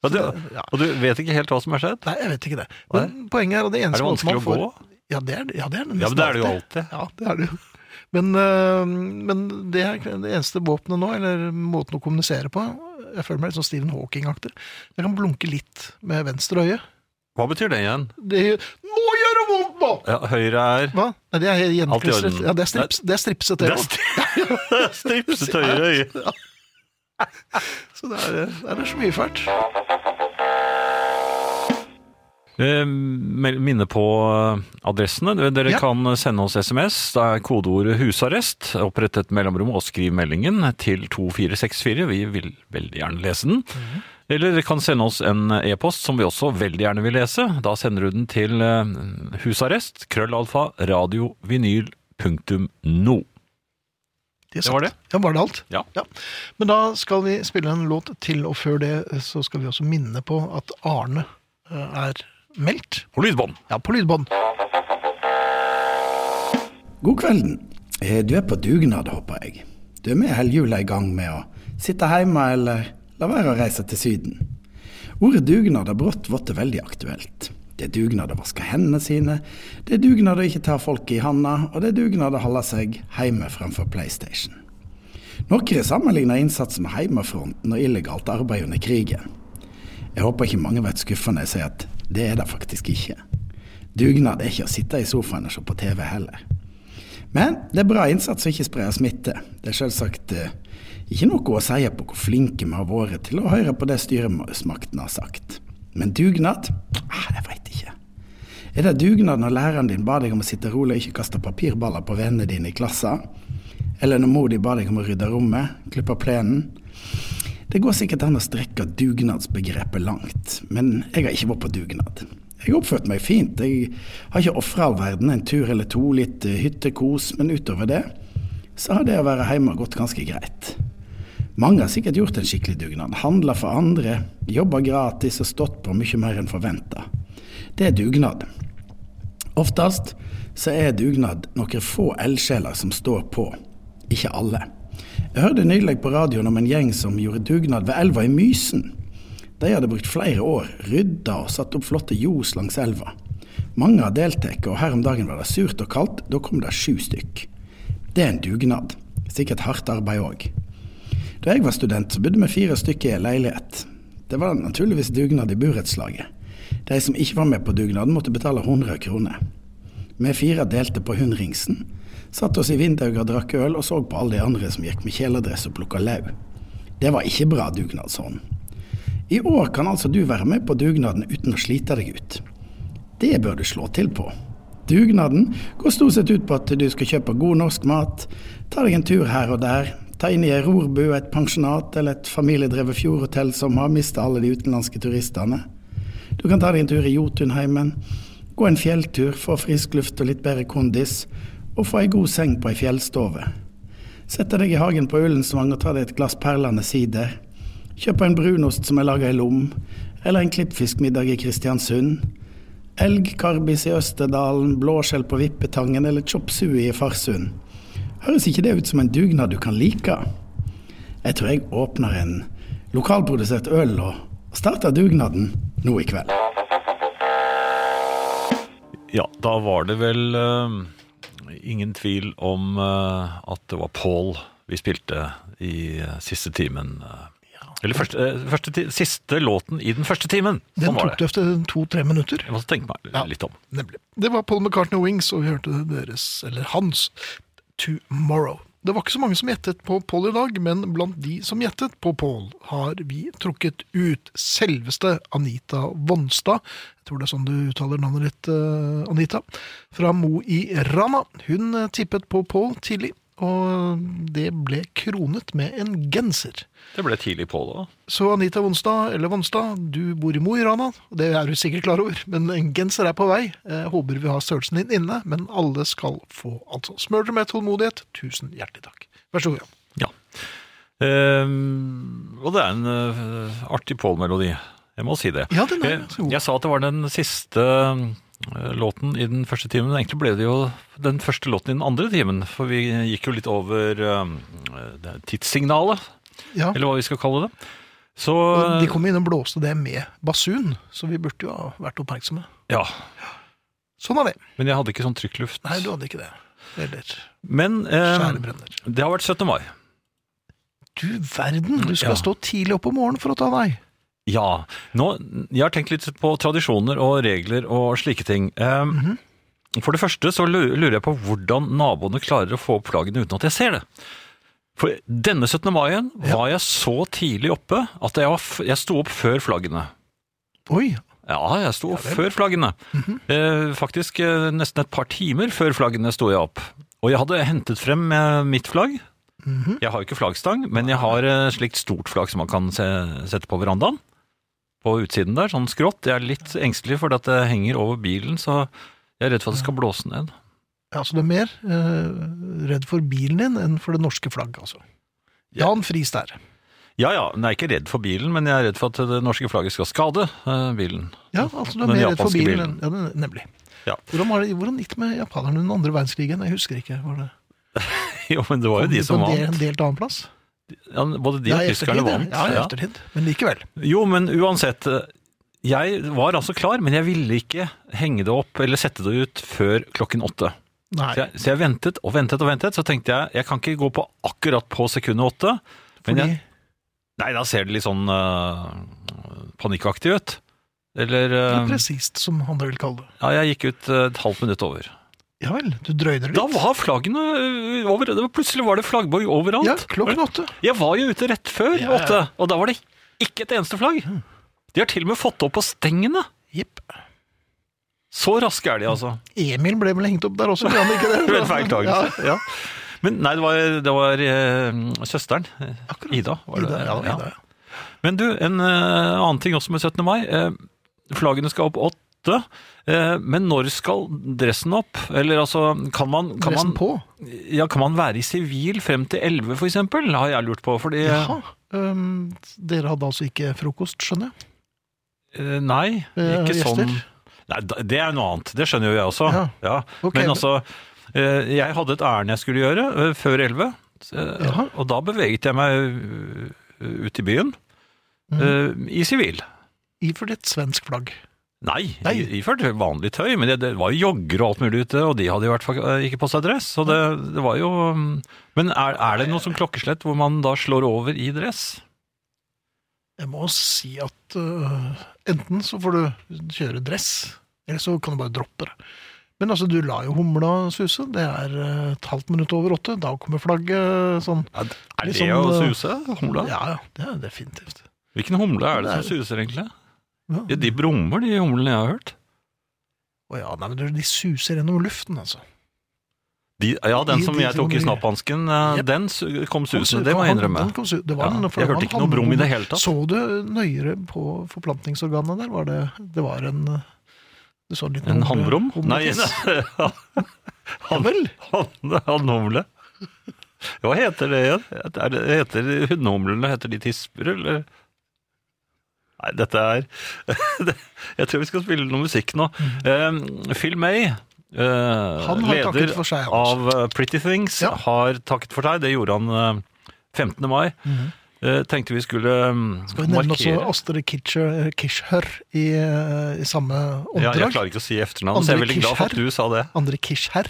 C: ja du,
B: ja.
C: og du vet ikke helt hva som har skjedd?
B: Nei, jeg vet ikke det. Men poenget er og det eneste
C: Er det
B: måten man
C: vanskelig å
B: får-
C: gå?
B: Ja, det er det. Ja, det er det,
C: Ja, men
B: nesten
C: det er det jo
B: alltid.
C: alltid.
B: Ja, det er det jo. Men, øh, men det, er det eneste våpenet nå, eller måten å kommunisere på Jeg føler meg litt sånn Stephen Hawking-aktig. Jeg kan blunke litt med venstre øye.
C: Hva betyr det igjen?
B: Det gjør Nå gjør det vondt, nå!
C: Ja, høyre er
B: Hva? Nei, det er
C: Alt i
B: gjenklistret.
C: orden.
B: Ja, det er, strips, det er stripset, det
C: Det er
B: også.
C: stripset høyre øye.
B: Så det er, det er så mye fælt.
C: Eh, mel- Minne på eh, adressene. Dere- Dere
B: Ja.
C: kan sende oss SMS. Da er kodeordet 'husarrest'. Opprett et mellomrom og skriv meldingen til 2464. Vi vil veldig gjerne lese den. Eller dere kan sende oss en e-post som vi også veldig gjerne vil lese. Da sender du den til eh, husarrest. Krøllalfa radiovinyl.no.
B: Det, er
C: Det var
B: sant. Ja, var det alt?
C: Ja.
B: Men da skal vi spille en låt til, og før det så skal vi også minne på at Arne øh, er meldt.
C: Og lydbånd!
B: Ja, på lydbånd.
D: God kvelden. Eh, Du er på dugnad, håper jeg. Du er med hele jula i gang med å sitte hjemme eller la være å reise til Syden. Ordet dugnad har brått blitt veldig aktuelt. Det er dugnad å vaske hendene sine, det er dugnad å ikke ta folk i handa, og det er dugnad å holde seg hjemme framfor PlayStation. Noen sammenligner innsatsen med heimefronten og illegalt arbeid under krigen. Jeg håper ikke mange blir skuffa når jeg sier at det er det faktisk ikke. Dugnad er ikke å sitte i sofaen og se på TV heller. Men det er bra innsats å ikke spre smitte. Det er selvsagt eh, ikke noe å si på hvor flinke vi har vært til å høre på det styresmaktene har sagt. Men dugnad? Ah, jeg veit ikke. Er det dugnad når læreren din ba deg om å sitte rolig og ikke kaste papirballer på vennene dine i klassen? Eller når mor di ba deg om å rydde rommet, klippe plenen? Det går sikkert an å strekke dugnadsbegrepet langt, men jeg har ikke vært på dugnad. Jeg oppførte meg fint, jeg har ikke ofra all verden en tur eller to, litt eh, hyttekos, men utover det så har det å være hjemme gått ganske greit. Mange har sikkert gjort en skikkelig dugnad, handla for andre, jobba gratis og stått på mye mer enn forventa. Det er dugnad. Oftest så er dugnad noen få eldsjeler som står på, ikke alle. Jeg hørte nylig på radioen om en gjeng som gjorde dugnad ved elva i Mysen. De hadde brukt flere år, rydda og satt opp flotte ljos langs elva. Mange har deltatt, og her om dagen var det surt og kaldt, da kom det sju stykk. Det er en dugnad. Sikkert hardt arbeid òg. Da jeg var student, så bodde vi fire stykker i en leilighet. Det var naturligvis dugnad i burettslaget. De som ikke var med på dugnaden, måtte betale 100 kroner. Vi fire delte på hundringsen, satt oss i vinduet og drakk øl og så på alle de andre som gikk med kjeledress og plukka lauv. Det var ikke bra dugnadsånd. I år kan altså du være med på dugnaden uten å slite deg ut. Det bør du slå til på. Dugnaden går stort sett ut på at du skal kjøpe god norsk mat, ta deg en tur her og der, ta inn i ei rorbu, et pensjonat eller et familiedrevet fjordhotell som har mista alle de utenlandske turistene. Du kan ta deg en tur i Jotunheimen, gå en fjelltur, få frisk luft og litt bedre kondis, og få ei god seng på ei fjellstove. Sette deg i hagen på Ullensvang og ta deg et glass perlende sider. Kjøpe en brunost som er laga i lom, eller en klippfiskmiddag i Kristiansund. Elgkarbis i Østerdalen, blåskjell på Vippetangen eller chop sui i Farsund. Høres ikke det ut som en dugnad du kan like? Jeg tror jeg åpner en lokalprodusert øl og starter dugnaden nå i kveld.
C: Ja, da var det vel eh, ingen tvil om eh, at det var Paul vi spilte i eh, siste timen. eh, Eller første, eh, første, ti- siste låten i den første timen.
B: Den
C: Sånn var
B: tok
C: det.
B: det etter to-tre minutter.
C: Jeg måtte tenke meg
B: Ja.
C: litt om.
B: Nemlig. Det var Paul McCartney og Wings, og vi hørte deres, eller hans, Tomorrow. Det var ikke så mange som gjettet på Paul i dag, men blant de som gjettet på Paul, har vi trukket ut selveste Anita Vonstad. Jeg tror det er sånn du uttaler navnet ditt, eh, Anita. Fra Mo i Rana. Hun eh, tippet på Paul tidlig, og det ble kronet med en genser.
C: Det ble tidlig på da.
B: Så Anita Vonstad, eller Vonstad, du bor i Mo i Rana. Det er du sikkert klar over, men en genser er på vei. Jeg håper vi har størrelsen din inne, men alle skal få. Altså, smør dere med tålmodighet. Tusen hjertelig takk. Vær så god, Jan.
C: Ja. Ehm, og det er en eh, artig Paul-melodi. Jeg må si det.
B: Ja, den er
C: jeg,
B: ganske god.
C: jeg sa at det var den siste eh, låten i den første timen. men Egentlig ble det jo den første låten i den andre timen. For vi gikk jo litt over eh, det tidssignalet,
B: Ja,
C: eller hva vi skal kalle det. Så
B: og de kom inn og blåste det med basun, så vi burde jo ha vært oppmerksomme.
C: Ja.
B: Sånn er det.
C: Men jeg hadde ikke sånn trykkluft.
B: Nei, du hadde ikke det. Eller
C: Men eh,
B: kjære brenner.
C: det har vært 17. mai.
B: Du verden, du skal
C: Ja.
B: stå tidlig opp om morgenen for å ta deg.
C: Ja. Nå, jeg har tenkt litt på tradisjoner og regler og slike ting. Ehm, For det første så lu- lurer jeg på hvordan naboene klarer å få opp plaggene uten at jeg ser det. For denne 17. maien var jeg så tidlig oppe at jeg, var f jeg sto opp før flaggene.
B: Oi,
C: Ja, jeg sto opp før flaggene.
B: Mhm.
C: eh, faktisk eh, nesten et par timer før flaggene sto jeg opp. Og jeg hadde hentet frem eh, mitt flagg.
B: Mhm.
C: Jeg har jo ikke flaggstang, men jeg har eh, slikt stort flagg som man kan se, sette på verandaen. På utsiden der, sånn skrått. Jeg er litt engstelig fordi at det henger over bilen, så jeg er redd for at det skal blåse ned.
B: Ja, så du er mer eh, redd for bilen din enn for det norske flagget, altså. Jan Friis der.
C: Ja ja, men jeg er ikke redd for bilen, men jeg er redd for at det norske flagget skal skade eh, bilen.
B: Ja, altså du er
C: Den
B: mer redd for
C: japanske
B: bilen. enn- Ja, den, nemlig.
C: Ja.
B: Hvordan, var det, hvordan gikk det med japanerne under andre verdenskrigen? Jeg husker ikke. Var det,
C: Jo, men det var jo de som
B: var En
C: vant.
B: delt annen plass?
C: Ja, både de og
B: i
C: tyskerne
B: ettertid, ja.
C: vant.
B: Ja, i ettertid. Men likevel.
C: Jo, men uansett. eh, Jeg var altså klar, men jeg ville ikke henge det opp eller sette det ut før klokken åtte.
B: Nei.
C: Så jeg, så jeg ventet og ventet og ventet, så tenkte jeg jeg kan ikke gå på akkurat på sekundet åtte.
B: Fordi,
C: Men jeg, nei, da ser det litt sånn eh, panikkaktig ut. Eller
B: eller
C: eh,
B: presist, som han vil kalle det.
C: Ja, jeg gikk ut eh, et halvt minutt over.
B: Ja vel, du drøyde det litt.
C: Da var flaggene eh, over. det var- Plutselig var det flaggborg overalt.
B: Ja, klokken åtte.
C: Jeg var jo ute rett før
B: Ja, ja.
C: åtte, og da var det ikke et eneste flagg. De har til og med fått opp på stengene.
B: Jipp.
C: Så raske er de, altså.
B: Emil ble vel hengt opp der også, ble han ikke det?
C: Ved en feiltagelse. Ja. Men nei, det var, det var eh, søsteren. eh,
B: Akkurat.
C: Ida. Var det?
B: Ida, ja, det var
C: Ja.
B: Ida, ja.
C: Men du, en eh, annen ting også med 17. mai. eh, Flaggene skal opp åtte. eh, Men når skal dressen opp? Eller altså, kan man, kan
B: Dressen
C: man,
B: på.
C: ja, kan man være i sivil frem til 11 for eksempel? Har jeg lurt på. Fordi
B: Jaha. Øhm, dere hadde altså ikke frokost, skjønner jeg.
C: Eh, Nei,
B: Eh,
C: ikke
B: gjester?
C: sånn. Nei, da- det er noe annet. Det skjønner jo jeg også.
B: Ja.
C: Ja.
B: Ok,
C: men
B: men-
C: altså, eh, jeg hadde et ærend jeg skulle gjøre eh, før elleve. eh,
B: Jaha.
C: Og da beveget jeg meg eh, ut i byen
B: Mhm.
C: eh, i sivil.
B: Iført et svensk flagg.
C: Nei,
B: Nei.
C: i- iført vanlig tøy, men det, det var jo jogger og alt mulig ute, og de hadde i hvert fall eh, ikke på seg dress. Så det, det var jo mm, Men er, er det noe som klokkeslett hvor man da slår over i dress?
B: Jeg må si at øh, enten så får du kjøre dress, eller så kan du bare droppe det. Men altså, du lar jo humla suse. Det er øh, et halvt minutt over åtte. Da kommer flagget sånn.
C: Er
B: Litt
C: det
B: sånn,
C: å
B: eh,
C: suse? Humla?
B: Ja, ja. Det er definitivt.
C: Hvilken humle er det
B: Det er-
C: som suser, egentlig?
B: Ja.
C: Ja, de brummer, de humlene jeg har hørt.
B: Å ja, nei, men du, De suser gjennom luften, altså.
C: De, ja, den
B: De-
C: som
B: de
C: jeg
B: som
C: tok i
B: de-
C: snapphansken, eh,
B: Jepp.
C: den su- kom
B: Han-
C: susende, det må jeg
B: han-
C: innrømme.
B: han kom su- det var
C: Ja,
B: en- for det
C: jeg
B: var
C: hørte
B: en
C: ikke noe brum i det hele tatt.
B: Så du nøyere på forplantningsorganet der? Var det, det var en øh, du så en liten
C: En
B: humle-
C: hannbrum? Nei,
B: humletiss.
C: han,
B: Ja vel?
C: han, humle. Hva heter det igjen? Er det, heter hundehumlene, heter de tisper, eller? Nei, dette er Jeg tror vi skal spille noe musikk nå. Eh, Phil May, eh,
B: Mm. Han har takket
C: leder
B: for seg, altså.
C: av eh, Pretty Things,
B: Ja.
C: har takket for seg. Det gjorde han eh, 15. mai. Eh, tenkte vi skulle mm,
B: Mhm. Skal vi nevne også
C: markere
B: Astrid Kitcher, Kishher i, eh, i samme
C: Ja, jeg
B: åndedrag?
C: klarer ikke å si efternavn, så jeg er
B: Andre
C: veldig glad for at
B: Kircher.
C: du sa det.
B: Andre Kishher.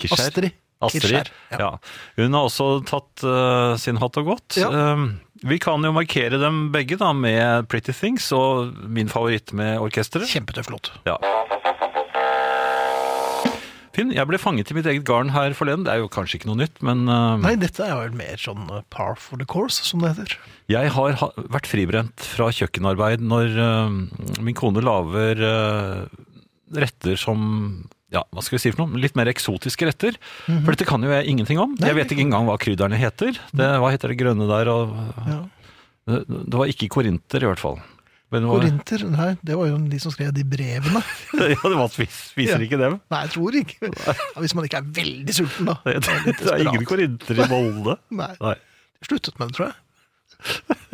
C: Kircher.
B: Astrid.
C: Astrid.
B: Kircher,
C: Ja. Hun har også tatt eh, sin hatt og gått.
B: Ja.
C: Um, Vi kan jo markere dem begge da, med Pretty Things og min favoritt med orkesteret.
B: Kjempetøff låt.
C: Ja. Finn, jeg ble fanget i mitt eget garn her forleden. Det er jo kanskje ikke noe nytt, men eh,
B: Nei, dette er vel mer sånn eh, par for the course, som det heter.
C: jeg har ha vært fribrent fra kjøkkenarbeid når eh, min kone lager eh, retter som ja, hva skal vi si for noe? Litt mer eksotiske retter. For dette kan jo jeg ingenting om.
B: Mhm. Nei. Mhm.
C: jeg vet ikke engang hva krydderne heter. Det, hva heter det grønne der? Og,
B: Ja.
C: det, det var ikke korinter, i hvert fall. Men det var,
B: Korinter, nei, det var jo de som skrev de brevene.
C: ja, det var, vi spiser
B: Ja.
C: ikke dem.
B: Nei, jeg tror ikke. Ja, hvis man ikke er veldig sulten, da.
C: Det, det, det er ingen korinter i Molde.
B: Nei,
C: Nei.
B: sluttet med det, tror jeg.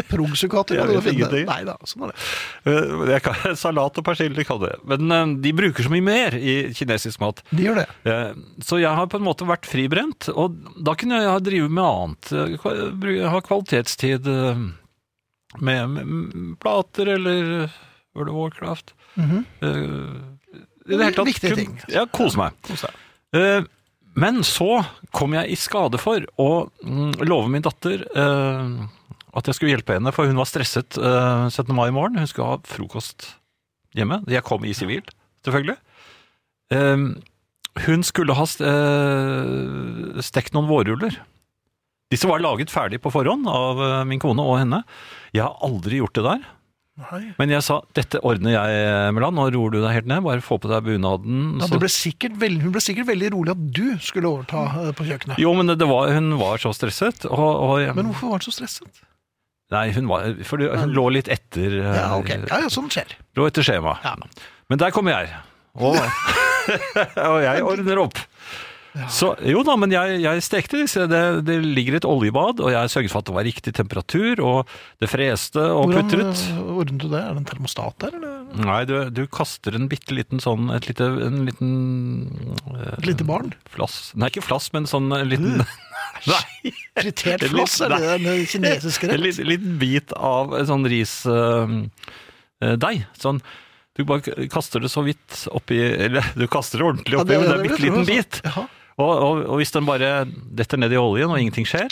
B: Progsukater
C: Jeg
B: kan du
C: vet
B: finne.
C: ingenting.
B: Nei da, sånn er det.
C: Eh, Jeg kan, salat og persille kan det. Men eh, de bruker så mye mer i kinesisk mat.
B: De gjør det.
C: Eh, Så jeg har på en måte vært fribrent, og da kunne jeg ha drevet med annet. eh, kva- bru- Ha kvalitetstid eh, med, med plater eller eh, World of Warcraft.
B: Mhm.
C: Eh, I det hele tatt.
B: Viktige
C: kun-
B: ting.
C: Ja, kose meg.
B: Kos deg.
C: Eh, Men så kom jeg i skade for å mm, love min datter eh, at jeg skulle hjelpe henne, for hun var stresset eh, 17. mai i morgen. Hun skulle ha frokost hjemme. Jeg kom i sivilt, selvfølgelig. Eh, Hun skulle ha st- eh, stekt noen vårruller. Disse var laget ferdig på forhånd av eh, min kone og henne. Jeg har aldri gjort det der.
B: Nei.
C: Men jeg sa dette ordner jeg, Melan. Nå roer du deg helt ned. Bare få på deg bunaden.
B: Ja,
C: så-
B: det ble sikkert veld, hun ble sikkert veldig rolig at du skulle overta eh, på kjøkkenet.
C: Jo, men det var, hun var så stresset. Og, og,
B: Men hvorfor var han så stresset?
C: nei, hun, var, for det- hun lå litt etter, eh,
B: Ja, ok. Ja, ja, sånn skjer.
C: lå etter skjema.
B: Ja.
C: Men der kommer jeg. Og, og jeg ordner opp. Så, jo da, men jeg, jeg stekte disse. Det, det ligger et oljebad, og jeg sørget for at det var riktig temperatur, og det freste og
B: Hvordan
C: putret.
B: eh, ordnet du det? Er det en termostat der, eller
C: Nei, du, du kaster en bitte liten sånn et lite, En liten eh,
B: et lite barn?
C: flass Nei, ikke flass, men sånn en liten Nei!
B: Fritert
C: Det er litt-
B: flass, er det den kinesiske
C: En
B: rett?
C: liten, liten bit av en sånn risdeig. Sånn, du bare kaster det så vidt oppi Eller du kaster det ordentlig oppi, men det er en bitte
B: altså.
C: liten bit.
B: Jaha.
C: Og, og, og hvis den bare detter ned i oljen og ingenting skjer,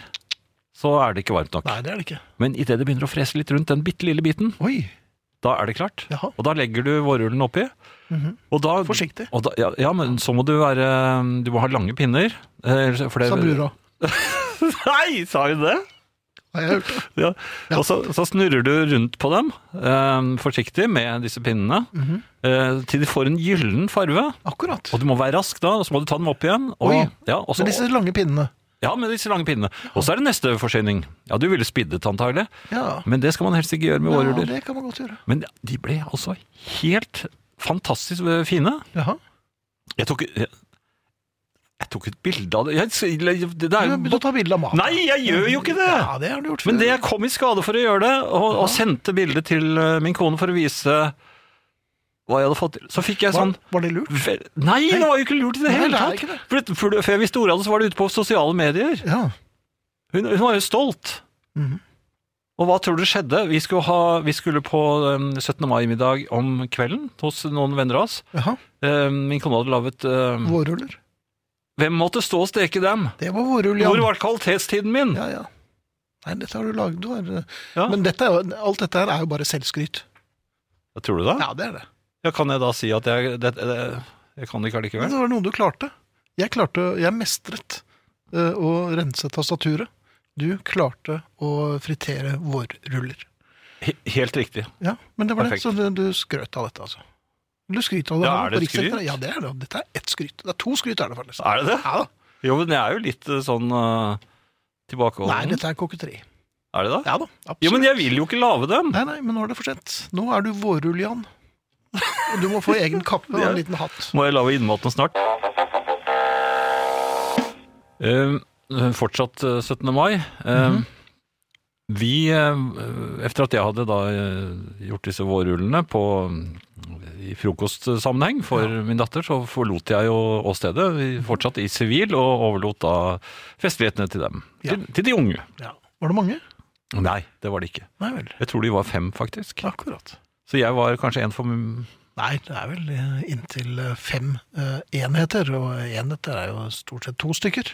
C: så er det ikke varmt nok.
B: Nei, det er det ikke.
C: Men idet det begynner å frese litt rundt den bitte lille biten,
B: Oi,
C: da er det klart.
B: jaha.
C: Og da legger du vårrullen oppi.
B: Mhm.
C: og da,
B: Forsiktig.
C: Og da, ja, ja, men så må du være Du må ha lange pinner. eh, for det-
B: Sa brura.
C: Nei, sa hun det?
B: Har jeg hørt det?
C: Ja.
B: Ja.
C: Og så, så snurrer du rundt på dem, eh, forsiktig, med disse pinnene,
B: Mhm.
C: eh, til de får en gyllen farve.
B: Akkurat.
C: Og du må være rask da, og så må du ta dem opp igjen. Og,
B: Oi,
C: ja, og så,
B: Med disse lange pinnene.
C: ja, med disse lange pinnene. Og så er det neste forsyning. Ja, du ville spiddet antagelig,
B: Ja.
C: men det skal man helst ikke gjøre med
B: ja,
C: vårruller.
B: det kan man godt gjøre.
C: Men de ble altså helt fantastisk eh, fine.
B: Jaha.
C: Jeg tok, jeg, jeg tok et bilde av det. Jeg, det
B: Du
C: er
B: har begynt
C: jo...
B: å ta bilde av maten.
C: Nei, jeg gjør jo ikke det!
B: Ja, det har du gjort før.
C: Men det jeg kom i skade for å gjøre det, og, og sendte bildet til eh, min kone for å vise hva jeg hadde fått til, så fikk jeg
B: var,
C: sånn
B: var det lurt?
C: vel- Nei, det var jo ikke lurt i det
B: Nei,
C: hele
B: det er
C: tatt!
B: ikke det.
C: For, det- for, det- før jeg visste ordet av det, så var det ute på sosiale medier.
B: Ja.
C: Hun, hun var jo stolt.
B: Mhm.
C: Og hva tror du skjedde? Vi skulle, ha, vi skulle på eh, 17. mai-middag om kvelden hos noen venner av oss.
B: Jaha.
C: Eh, Min kone hadde laget eh,
B: Vårruller.
C: Hvem måtte stå og steke dem?
B: Det var vårrull,
C: Hvor
B: Jan.
C: var kvalitetstiden min?
B: Ja, ja. Nei, dette har du lagd. Du har, eh,
C: Ja.
B: Men dette, er jo- alt dette her er jo bare selvskryt.
C: Tror du det? Ja.
B: Ja, det er det.
C: kan jeg da si at jeg, det, det, jeg kan det ikke allikevel?
B: Men det var noe du klarte. Jeg klarte, jeg mestret eh, å rense tastaturet. Du klarte å fritere vårruller.
C: He- Helt riktig.
B: Ja, men det var
C: Perfekt.
B: det. Så det- du skrøt av dette, altså. Du skryter av det.
C: Ja,
B: her
C: er
B: på
C: det et
B: Rikssenteret.
C: skryt?
B: Ja, det er det. Dette er ett skryt. Det er to skryt, er det faktisk.
C: Er det det?
B: Ja da.
C: Jo, men jeg er jo litt eh, sånn uh,
B: Nei,
C: tilbakeholden.
B: dette er kokketeri.
C: Er det det?
B: Ja da, absolutt.
C: Jo, men jeg vil jo ikke lage dem!
B: Nei, nei, men nå er det for sent. Nå er du vårrull, Jan. Og Du må få egen kappe og en liten hatt.
C: Må jeg lage innmaten snart? Eh, fortsatt eh, 17. mai. Eh,
B: Mhm.
C: Vi, eh, etter at jeg hadde da eh, gjort disse vårrullene på, i frokostsammenheng for min datter, så forlot jeg jo åstedet. Vi fortsatt i sivil og overlot da festlighetene til dem.
B: Ja.
C: Til, til de unge.
B: Ja. Var det mange?
C: Nei, det var det ikke.
B: Nei vel.
C: Jeg tror de var fem, faktisk.
B: Akkurat.
C: Så jeg var kanskje en for m-
B: Nei, det er vel eh, inntil eh, fem eh, enheter, og enheter er jo stort sett to stykker.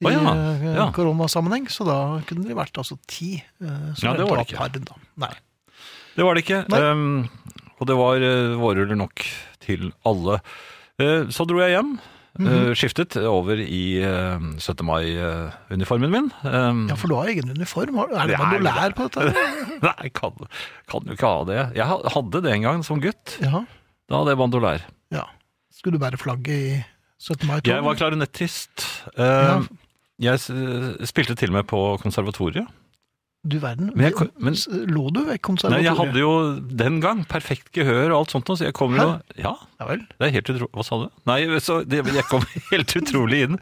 B: i
C: Å, ja.
B: eh,
C: Ja.
B: koronasammenheng, så da kunne det vært altså ti. eh, som
C: Ja, det var det
B: deltok
C: ikke.
B: per da. Nei.
C: Det var det ikke.
B: Nei.
C: Ehm, og det var eh, vårruller nok til alle. Eh, så dro jeg hjem.
B: Mhm.
C: eh, skiftet over i eh, 17. mai-uniformen min. Ehm,
B: Ja, for du har egen uniform. har- Er det
C: Ja, jeg
B: mandolær på dette?
C: Nei, kan, kan jo ikke ha det. Jeg ha- hadde det en gang som gutt.
B: Ja,
C: Da hadde jeg bandolær.
B: ja. Skulle du bære flagget i 17. mai?
C: Jeg var klarinettist.
B: Ja.
C: Ehm, Jeg s- spilte til og med på konservatoriet.
B: Du verden.
C: Men jeg ko- men-
B: S- Lå du ved
C: Nei,
B: konservatoriet?
C: jeg hadde jo den gang perfekt gehør og alt sånt, så jeg kom jo Ja,
B: Ja vel.
C: Det er helt utrolig Hva sa du? Nei, så det, jeg kom helt utrolig inn.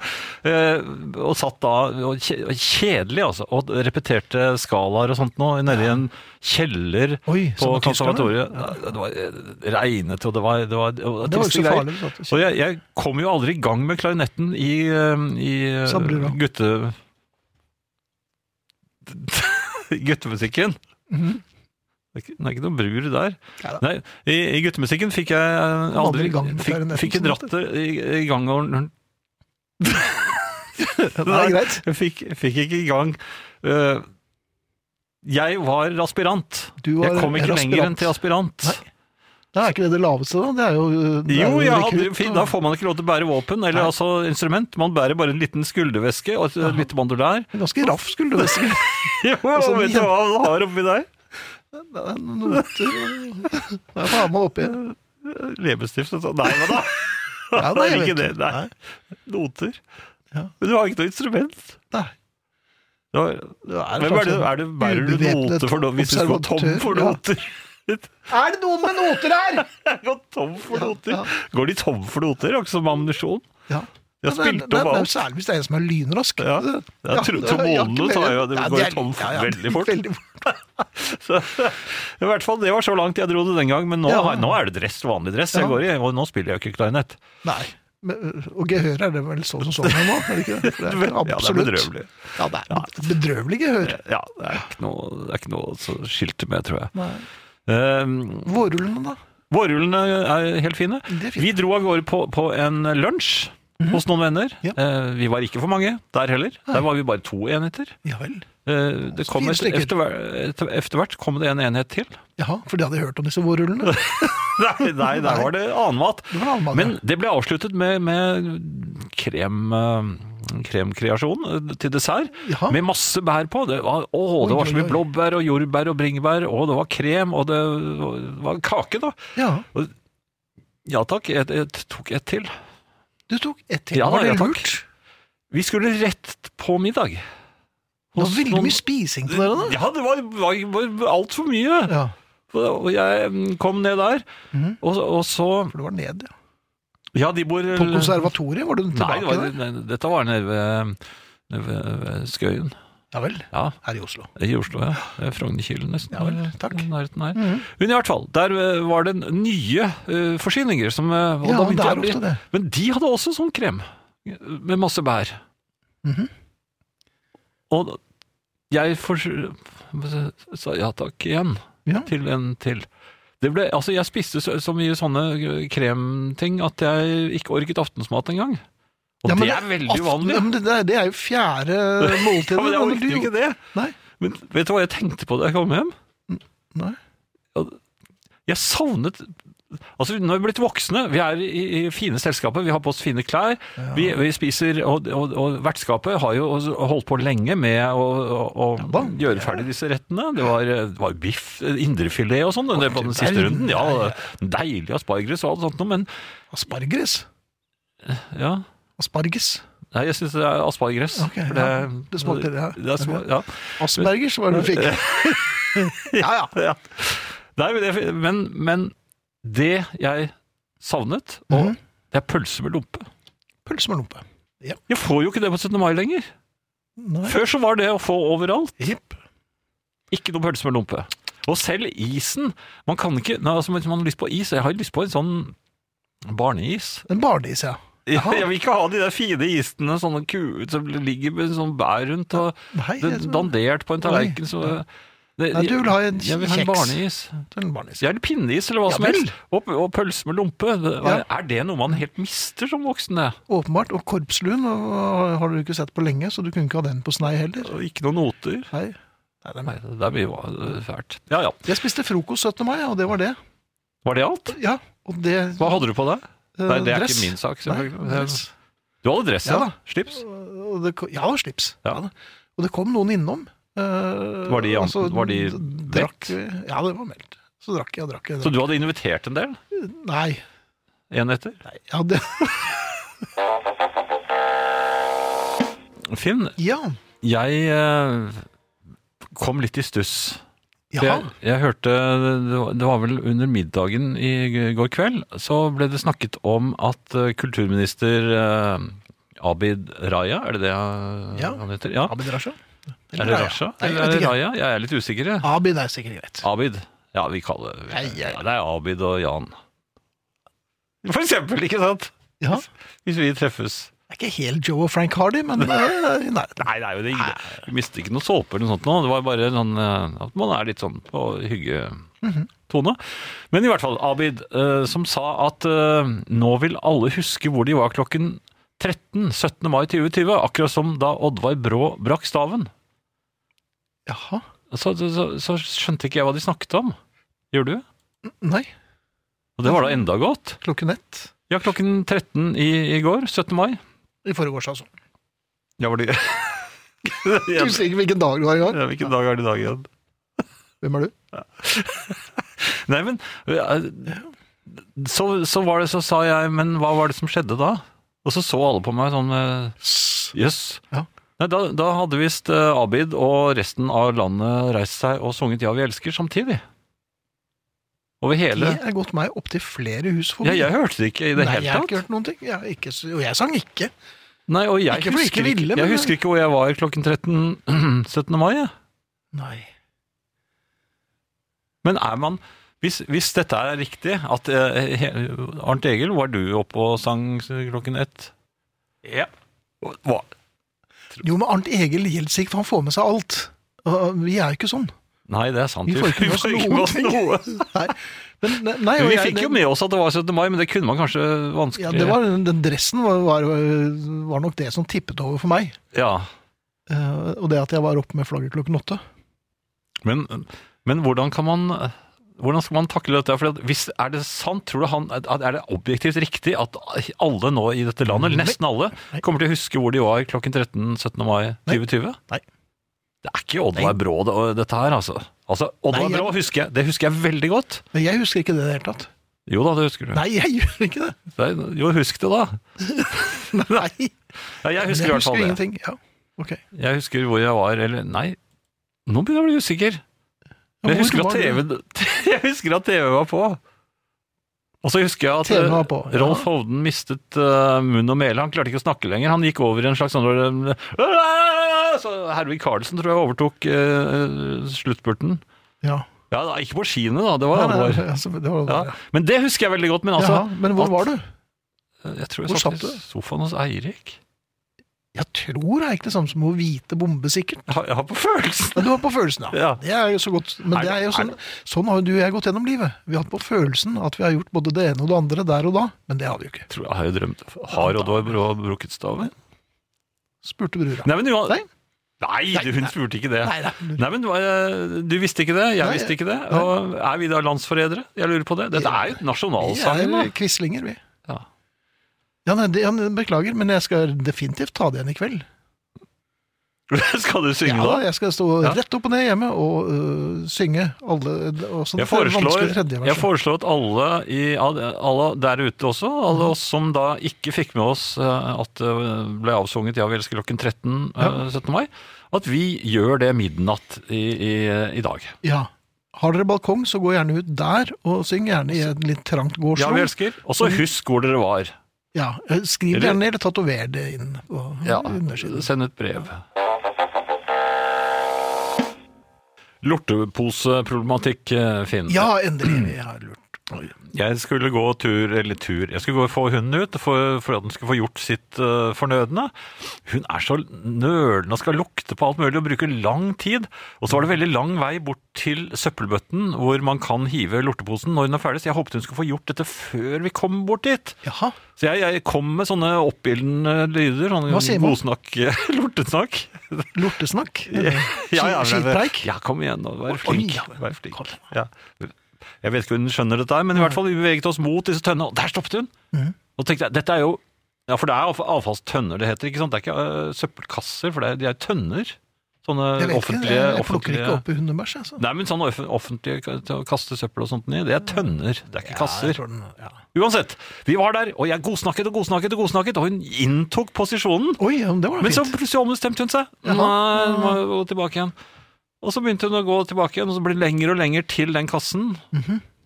C: eh, og satt da og kje- og Kjedelig, altså. Og repeterte skalaer og sånt nå, nede i en kjeller
B: Oi,
C: på
B: som tyskerne.
C: konservatoriet. Det var eh, regnete, og det var Det var, det var,
B: Det var jo ikke
C: triste
B: så
C: greier.
B: farlig. faktisk.
C: Og jeg, jeg kom jo aldri i gang med klarinetten i, eh, i eh,
B: Sabrura.
C: gutte... guttemusikken.
B: Mhm.
C: Det er ikke, det er ikke noe brur der.
B: Neida.
C: Nei, i, I guttemusikken fikk jeg eh,
B: Aldri
C: aldri
B: i gang med
C: fikk,
B: klarinetten,
C: fikk jeg
B: som
C: dratt det i, i gang og-
B: Ja, Det er greit.
C: Jeg fikk, fikk ikke i gang eh, Jeg var aspirant.
B: Du var
C: jeg kom ikke
B: en
C: lenger enn
B: aspirant.
C: til aspirant.
B: Nei. Det er ikke det det laveste, da. Det er jo, eh, det er
C: Jo, jeg hadde,
B: rekrutt
C: fi-
B: og-
C: da får man ikke lov til å bære våpen, eller
B: Nei.
C: altså instrument. Man bærer bare en liten skulderveske og et lite bandolær.
B: Ganske raff skulle du si.
C: Jo,
B: så
C: vet du
B: mye-
C: hva han har oppi der?
B: Det er noter og Det er faen meg oppi.
C: Leppestift og sånn. Nei, hva da?
B: Ja, nei, jeg
C: Ikke
B: vet
C: det,
B: ikke.
C: nei.
B: Nei.
C: Noter.
B: Ja.
C: Men du har ikke noe instrument.
B: Nei.
C: Det var,
B: er
C: Hvem
B: en slags sånn
C: er det, er det, bærer du
B: ubevæpnet
C: noter for noe hvis du skulle gå tom
B: observatør,
C: for
B: ja.
C: noter?
B: Er det noen med noter her?!
C: Jeg går tom for
B: Ja,
C: noter.
B: ja.
C: Går de tom for noter? Akkurat som ammunisjon?
B: Ja. Men det
C: De har
B: er- det er-
C: spilt opp
B: det er jo
C: alt.
B: Særlig hvis det er en som er lynrask.
C: Ja.
B: Det-
C: Jeg
B: det
C: tror
B: er
C: trombonene
B: jakke-
C: tar jo Det
B: Ja, de
C: går
B: er-
C: tom for
B: ja, ja,
C: veldig fort.
B: veldig fort.
C: Så, I hvert fall, Det var så langt jeg dro det den gang, men nå,
B: Ja.
C: har- nå er det dress, vanlig dress jeg
B: Ja.
C: går i. Og nå spiller jeg jo ikke klarinett.
B: Nei. Men, ø, og gehør er det vel så som sånn her nå? Er det ikke det? det er ikke
C: Ja, det er
B: absolutt.
C: bedrøvelig.
B: Ja, det er bedrøvelig gehør.
C: Ja, det er ikke noe, det er ikke noe å skilte med, tror jeg.
B: Nei.
C: Um,
B: Vårrullene, da?
C: Vårrullene er helt fine.
B: Det er fint. Mhm.
C: Vi dro av gårde på, på en lunsj hos noen venner.
B: Ja.
C: Eh, vi var ikke for mange der heller. Der var vi bare to enheter.
B: Ja vel.
C: Eh, det kom
B: fire
C: et,
B: stykker.
C: efter, etter, etter hvert kom det en enhet til.
B: Jaha, for de hadde hørt om disse vårrullene?
C: Nei, nei der var det annenmat.
B: Det var en annen mann,
C: Men det ble avsluttet med, med krem, eh, kremkreasjon eh, til dessert.
B: Jaha.
C: Med masse bær på. Det var, å, det
B: Oi,
C: var så
B: oi,
C: mye
B: oi.
C: blåbær og jordbær og bringebær, og det var krem, og det var kake, da.
B: ja.
C: Ja takk, jeg, jeg tok et til.
B: Du tok ett til.
C: Ja,
B: var det
C: ja, takk.
B: lurt?
C: Vi skulle rett på middag.
B: Det var
C: Hos
B: veldig
C: noen-
B: mye spising på dere, da.
C: Ja, det var, var, var altfor mye.
B: Ja,
C: Og jeg mm, kom ned der,
B: Mhm.
C: og, og så
B: for det var ned, ja.
C: Ja, de bor
B: På konservatoriet var du
C: Nei,
B: tilbake
C: det var,
B: der?
C: nei, dette var nede ved, nede ved ved Skøyen.
B: Ja vel.
C: Ja,
B: Her i Oslo.
C: i Oslo, ja. Det er Frognerkilen, nesten.
B: Ja vel, takk. Mm.
C: i nærheten her. Men i hvert fall, der eh, var det nye eh, forsyninger som eh, og
B: Ja,
C: da begynte
B: det er
C: jeg å bli-
B: ofte det.
C: Men de hadde også sånn krem med masse bær.
B: Mhm.
C: Og jeg for, sa ja takk igjen
B: Ja.
C: til en til. Det ble, altså jeg spiste så, så mye sånne kremting at jeg ikke orket aftensmat engang. Og
B: Ja, men
C: det er veldig
B: aften-
C: uvanlig.
B: Ja, men det, er- det er jo fjerde måltid.
C: Ja, men jeg
B: da,
C: orket
B: du-
C: jo ikke det.
B: Nei.
C: Men vet du hva jeg tenkte på da jeg kom hjem?
B: Nei.
C: Jeg savnet Altså, nå er vi blitt voksne. Vi er i, i fine selskaper, vi har på oss fine klær. Vi, vi spiser Og, og, og vertskapet har jo holdt på lenge med å, å, å
B: da.
C: gjøre ferdig disse rettene. Det var, det var biff, indrefilet og sånn det på den siste
B: verden.
C: runden. Ja, deilig asparges og alt sånt noe, men
B: Asparges.
C: ja.
B: Asparges.
C: Nei, jeg syns det er asparges.
B: Ok,
C: for
B: ja. Det smakte det, ja.
C: det er sma- ja.
B: Aspergers var det du fikk. Ja, ja.
C: ja. Nei, men, det, men, men det jeg savnet, og
B: Mhm.
C: det er pølse med lompe.
B: Pølse med lompe.
C: Jeg får jo ikke det på 17. mai lenger.
B: Nei.
C: Før så var det å få overalt.
B: Jipp.
C: Ikke noe pølse med lompe. Og selv isen. Man kan ikke nei, altså, Hvis man har lyst på is Jeg har lyst på en sånn barneis.
B: En barneis, ja.
C: Jeg,
B: Jaha.
C: jeg vil ikke ha de der fine isene, sånne kuer som ligger med sånn bær rundt og
B: Nei,
C: det,
B: jeg-
C: dandert på en tallerken. Så, Det-
B: Nei, du vil ha en
C: Jeg vil ha en
B: kjeks.
C: barneis.
B: til en barnis.
C: Gjerne pinneis eller hva
B: Ja
C: som
B: vel.
C: helst. Og, og pølse med lompe. Det-
B: Ja.
C: Er det noe man helt mister som voksen? det?
B: Åpenbart. Og korpslun og har du ikke sett på lenge, så du kunne ikke ha den på snei heller.
C: Og ikke noen noter?
B: Nei. Nei, det er
C: Nei, det der blir jo øh, fælt. Ja ja.
B: Jeg spiste frokost 17. mai, og det var det.
C: Var det alt?
B: Ja, og det
C: Hva hadde du på deg?
B: eh,
C: Nei, det er
B: dress.
C: ikke min sak,
B: Nei,
C: selvfølgelig.
B: dress.
C: Du hadde dress, ja?
B: Ja da.
C: Slips?
B: Og det, ko- ja, og slips.
C: Ja.
B: Og det kom noen innom. eh,
C: Var de an- var de
B: d- drakk, Ja, det var meldt. Så drakk jeg og drakk jeg.
C: Så
B: Drakk.
C: du hadde invitert en del?
B: Nei,
C: En etter?
B: nei. Ja, det,
C: Finn,
B: ja.
C: jeg eh, kom litt i stuss. For
B: Jaha.
C: Jeg, jeg hørte, det var- det var vel under middagen i går kveld, så ble det snakket om at eh, kulturminister eh, Abid Raja, er det det han
B: Ja.
C: han heter? Ja.
B: Abid Rasha?
C: Er det Raja?
B: Nei, jeg
C: Eller er
B: vet
C: det
B: ikke.
C: Raja? Jeg er litt usikker. jeg.
B: Abid er sikkert greit.
C: Abid. Ja, vi kaller
B: Ja, ja.
C: ja, det er Abid og Jan. For eksempel, ikke sant?
B: Ja.
C: Hvis vi treffes.
B: Det er ikke helt Joe og Frank Hardy, men eh, nei.
C: Nei, det er jo det. Vi mister ikke noe såpe eller noe sånt nå. Det var bare sånn eh, at man er litt sånn på hyggetone. Men i hvert fall, Abid, eh, som sa at eh, nå vil alle huske hvor de var klokken 13, 17. mai 2020, akkurat som da Oddvar Brå brakk staven.
B: Jaha.
C: Så, så, så- så skjønte ikke jeg hva de snakket om. Gjør du?
B: Nei,
C: Og det var da enda godt.
B: klokken ett
C: Ja, klokken 13 i, i går, 17. mai.
B: i forgårs, altså.
C: Ja, var det
B: Du sier ikke hvilken dag du har i gang.
C: Hvilken dag er det i dag igjen?
B: Hvem er du?
C: Nei, men eh, så, så var det, så sa jeg, men hva var det som skjedde da? Og så så alle på meg sånn eh, Jøss.
B: Ja.
C: Nei, Da, da hadde visst eh, Abid og resten av landet reist seg og sunget Ja, vi elsker samtidig. Over
B: Det
C: hele
B: er gått meg opptil flere hus
C: Ja,
B: forbi.
C: jeg hørte det ikke i det
B: Nei, jeg
C: hele
B: har ikke
C: tatt.
B: hørt noen ting. Jeg, har ikke, og jeg sang ikke.
C: Nei, og jeg,
B: Ikke fordi jeg ikke
C: husker, ikke,
B: ville, men-
C: jeg husker ikke hvor jeg var klokken 13 17. mai. jeg.
B: Nei.
C: Men er man hvis, hvis dette er riktig, at eh, he- Arnt Egil, var du oppe og sang klokken ett? Ja. Hva?
B: Jo, men Arnt Egil Gjeldsik, for han får med seg alt. Og Vi er jo ikke sånn.
C: Nei, det er sant.
B: Vi får ikke med oss noen ting.
C: noe.
B: Nei. Men, ne- nei,
C: Men
B: og
C: vi
B: jeg-
C: fikk jo med oss at det var 17. mai, men det kunne man kanskje vanskelig
B: ja, det var, Den dressen var, var, var nok det som tippet over for meg.
C: Ja.
B: Eh, og det at jeg var oppe med flagget klokken åtte.
C: Men, men hvordan kan man hvordan skal man takle dette? For at hvis, er det sant, tror du han, at- er det objektivt riktig at alle nå i dette landet, eller nesten alle,
B: Nei.
C: kommer til å huske hvor de var klokken 13. 17. mai 2020?
B: Nei.
C: Det er ikke Oddvar Brå det, og dette her, altså. Altså, Oddvar
B: Nei, jeg-
C: Brå husker jeg, det husker jeg veldig godt.
B: Men jeg husker ikke det i det hele tatt.
C: Jo da, det husker du.
B: Nei, jeg gjør ikke det!
C: Nei, Jo, husk det da.
B: Nei.
C: Ja, jeg husker i
B: jeg
C: hvert fall
B: husker
C: det.
B: ingenting. Ja. Ok.
C: Jeg husker hvor jeg var, eller nei, nå begynner jeg å bli usikker.
B: Ja,
C: Jeg
B: hvor
C: husker, at
B: var du?
C: TV, jeg husker at TV var på. Og så husker jeg at
B: TV var
C: eh,
B: på, ja.
C: Rolf Hovden mistet eh, munn og mæle. Han klarte ikke å snakke lenger. Han gikk over i en slags sånn eh, Så Hervig Karlsen tror jeg overtok eh, sluttspurten.
B: Ja.
C: Ja, da, ikke på skiene, da. Det var
B: Nei, nei,
C: alvor.
B: altså, det var
C: Ja. Men det husker jeg veldig godt. Men altså
B: Jaha, men hvor
C: at-
B: var du?
C: Jeg tror
B: Hvor
C: jeg satt
B: satt
C: i
B: du?
C: sofaen hos Eirik.
B: Jeg tror det er ikke det samme som å hvite bombe, sikkert.
C: Jeg har, jeg har på følelsen!
B: Men du har på følelsen, ja.
C: Ja.
B: Det er jo så godt. Men
C: Er
B: det
C: det-
B: er jo
C: er
B: sånn, sånn har jo du og jeg gått gjennom livet. Vi har hatt på følelsen at vi har gjort både det ene og det andre der og da, men det har vi jo ikke.
C: Jeg tror jeg har jo drømt Har Oddvar Brå brukket staven?
B: Spurte brura.
C: Nei, men du,
B: Nei.
C: Nei, du- hun spurte ikke det.
B: Nei, nei.
C: Nei, men du, eh, du visste ikke det, jeg
B: Nei,
C: visste ikke det. Og er vi da landsforrædere? Jeg lurer på det. Dette er jo
B: Vi
C: nasjonalsangen, da.
B: er quislinger, vi.
C: Ja.
B: Ja, nei, det, ja, beklager, men jeg skal definitivt ta det igjen i kveld.
C: Skal du synge
B: Ja, da,
C: da?
B: jeg skal stå
C: Ja.
B: rett opp og ned hjemme og øh, synge alle og sånn
C: Jeg foreslår,
B: vanskelig tredje vers.
C: jeg foreslår at alle, i, alle der ute også,
B: Mhm.
C: alle oss som da ikke fikk med oss eh, at det ble avsunget 'Ja, vi elsker' klokken 13 eh,
B: Ja.
C: 17. mai, at vi gjør det midnatt i, i, i dag.
B: Ja. Har dere balkong, så gå gjerne ut der, og syng gjerne i et litt trangt
C: Ja, vi
B: gårdsrom.
C: elsker. Og
B: Mhm.
C: så husk hvor dere var.
B: Ja, eh, skriv
C: Eller-
B: gjerne ned, eller tatover det inn på
C: Ja,
B: undersiden.
C: send et brev. Lorteposeproblematikk, eh, Finn. Mm.
B: Ja, endelig. Jeg har lurt
C: Jeg skulle gå tur, eller tur, jeg skulle gå og få hunden ut for, for at den skulle få gjort sitt eh, fornødne. Hun er så nølende og skal lukte på alt mulig og bruke lang tid. Og så var det veldig lang vei bort til søppelbøtten hvor man kan hive lorteposen når hun er ferdig, så jeg håpet hun skulle få gjort dette før vi kom bort dit.
B: Jaha.
C: Så jeg, jeg kom med sånne oppildende lyder,
B: Hva sier
C: sånn
B: man?
C: godsnakk, lortesnakk.
B: Lortesnakk?
C: men-
B: Skitpreik?
C: Ja, kom igjen, nå, vær
B: Oi,
C: flink.
B: ja, men-
C: Vær flink.
B: kom.
C: Ja. Jeg vet ikke om hun skjønner dette, her, men i hvert fall vi beveget oss mot disse tønnene, og der stoppet hun.
B: Mm.
C: Og tenkte jeg, dette er jo, ja, for det er av- avfallstønner det heter, ikke sant? Det er ikke øh, søppelkasser, for det er, de er tønner. Sånne
B: Jeg vet ikke,
C: offentlige...
B: jeg, jeg plukker
C: offentlige-
B: ikke opp i hundebæsj. Altså.
C: Nei, men sånn off- offentlige k- til å kaste søppel og sånt ned, det er tønner, det er
B: Ja,
C: ikke
B: jeg
C: kasser.
B: tror den, ja.
C: Uansett, vi var der, og jeg godsnakket og godsnakket og godsnakket, og hun inntok posisjonen.
B: Oi, ja, men det var da
C: Men så
B: fint.
C: plutselig ombestemte hun seg.
B: Jaha.
C: Nei, hun må gå tilbake igjen. Og så begynte hun å gå tilbake igjen, og så ble det lenger og lenger til den kassen.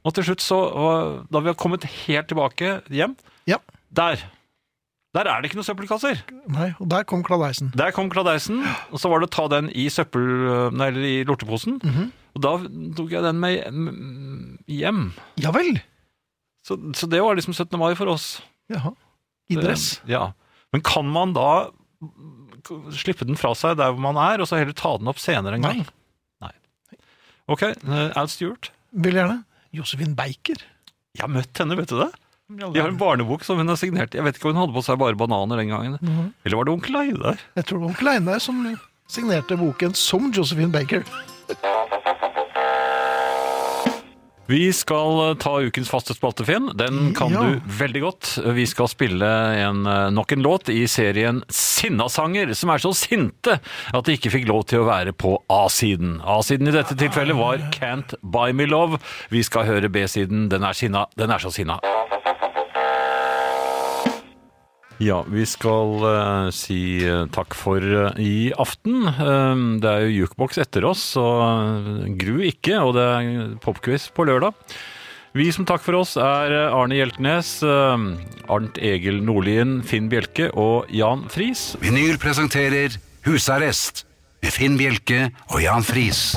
C: Og til slutt, så, og da vi har kommet helt tilbake hjem
B: Ja.
C: Der! Der er det ikke noen søppelkasser!
B: Nei, og der kom kladeisen.
C: Der kom kladeisen, og så var det å ta den i søppel... Nei, eller i lorteposen. Og da tok jeg den med mm, hjem.
B: Ja vel!
C: Så, så det var liksom 17. mai for oss.
B: Jaha. I
C: Det-
B: dress.
C: Eh, Ja. Men kan man da k- slippe den fra seg der hvor man er, og så heller ta den opp senere en
B: Nei.
C: gang? Nei. Ok, eh, Al Stewart.
B: Vil gjerne. Josefin Baker.
C: Jeg har møtt henne, vet du det? De har en barnebok som hun har signert. Jeg vet ikke om hun hadde på seg bare bananer den gangen. Eller var det onkel Einar?
B: Jeg tror det var onkel Einar som signerte boken som Josephine Baker.
C: Vi skal eh, ta ukens faste spalte, Finn. Den kan
B: Ja.
C: du veldig godt. Vi skal spille en, eh, nok en låt i serien Sinnasanger, som er så sinte at de ikke fikk lov til å være på A-siden. A-siden i dette tilfellet var Can't Buy Me Love. Vi skal høre B-siden. Den er sinna. Den er så sinna. Ja, vi skal eh, si eh, takk for eh, i aften. Eh, det er jo jukebox etter oss, så eh, gru ikke, og det er popquiz på lørdag. Vi som takk for oss er eh, Arne Hjeltnes, eh, Arnt Egil Nordlien, Finn Bjelke og Jan Friis.
A: Vinyl presenterer Husarrest med Finn Bjelke og Jan Friis.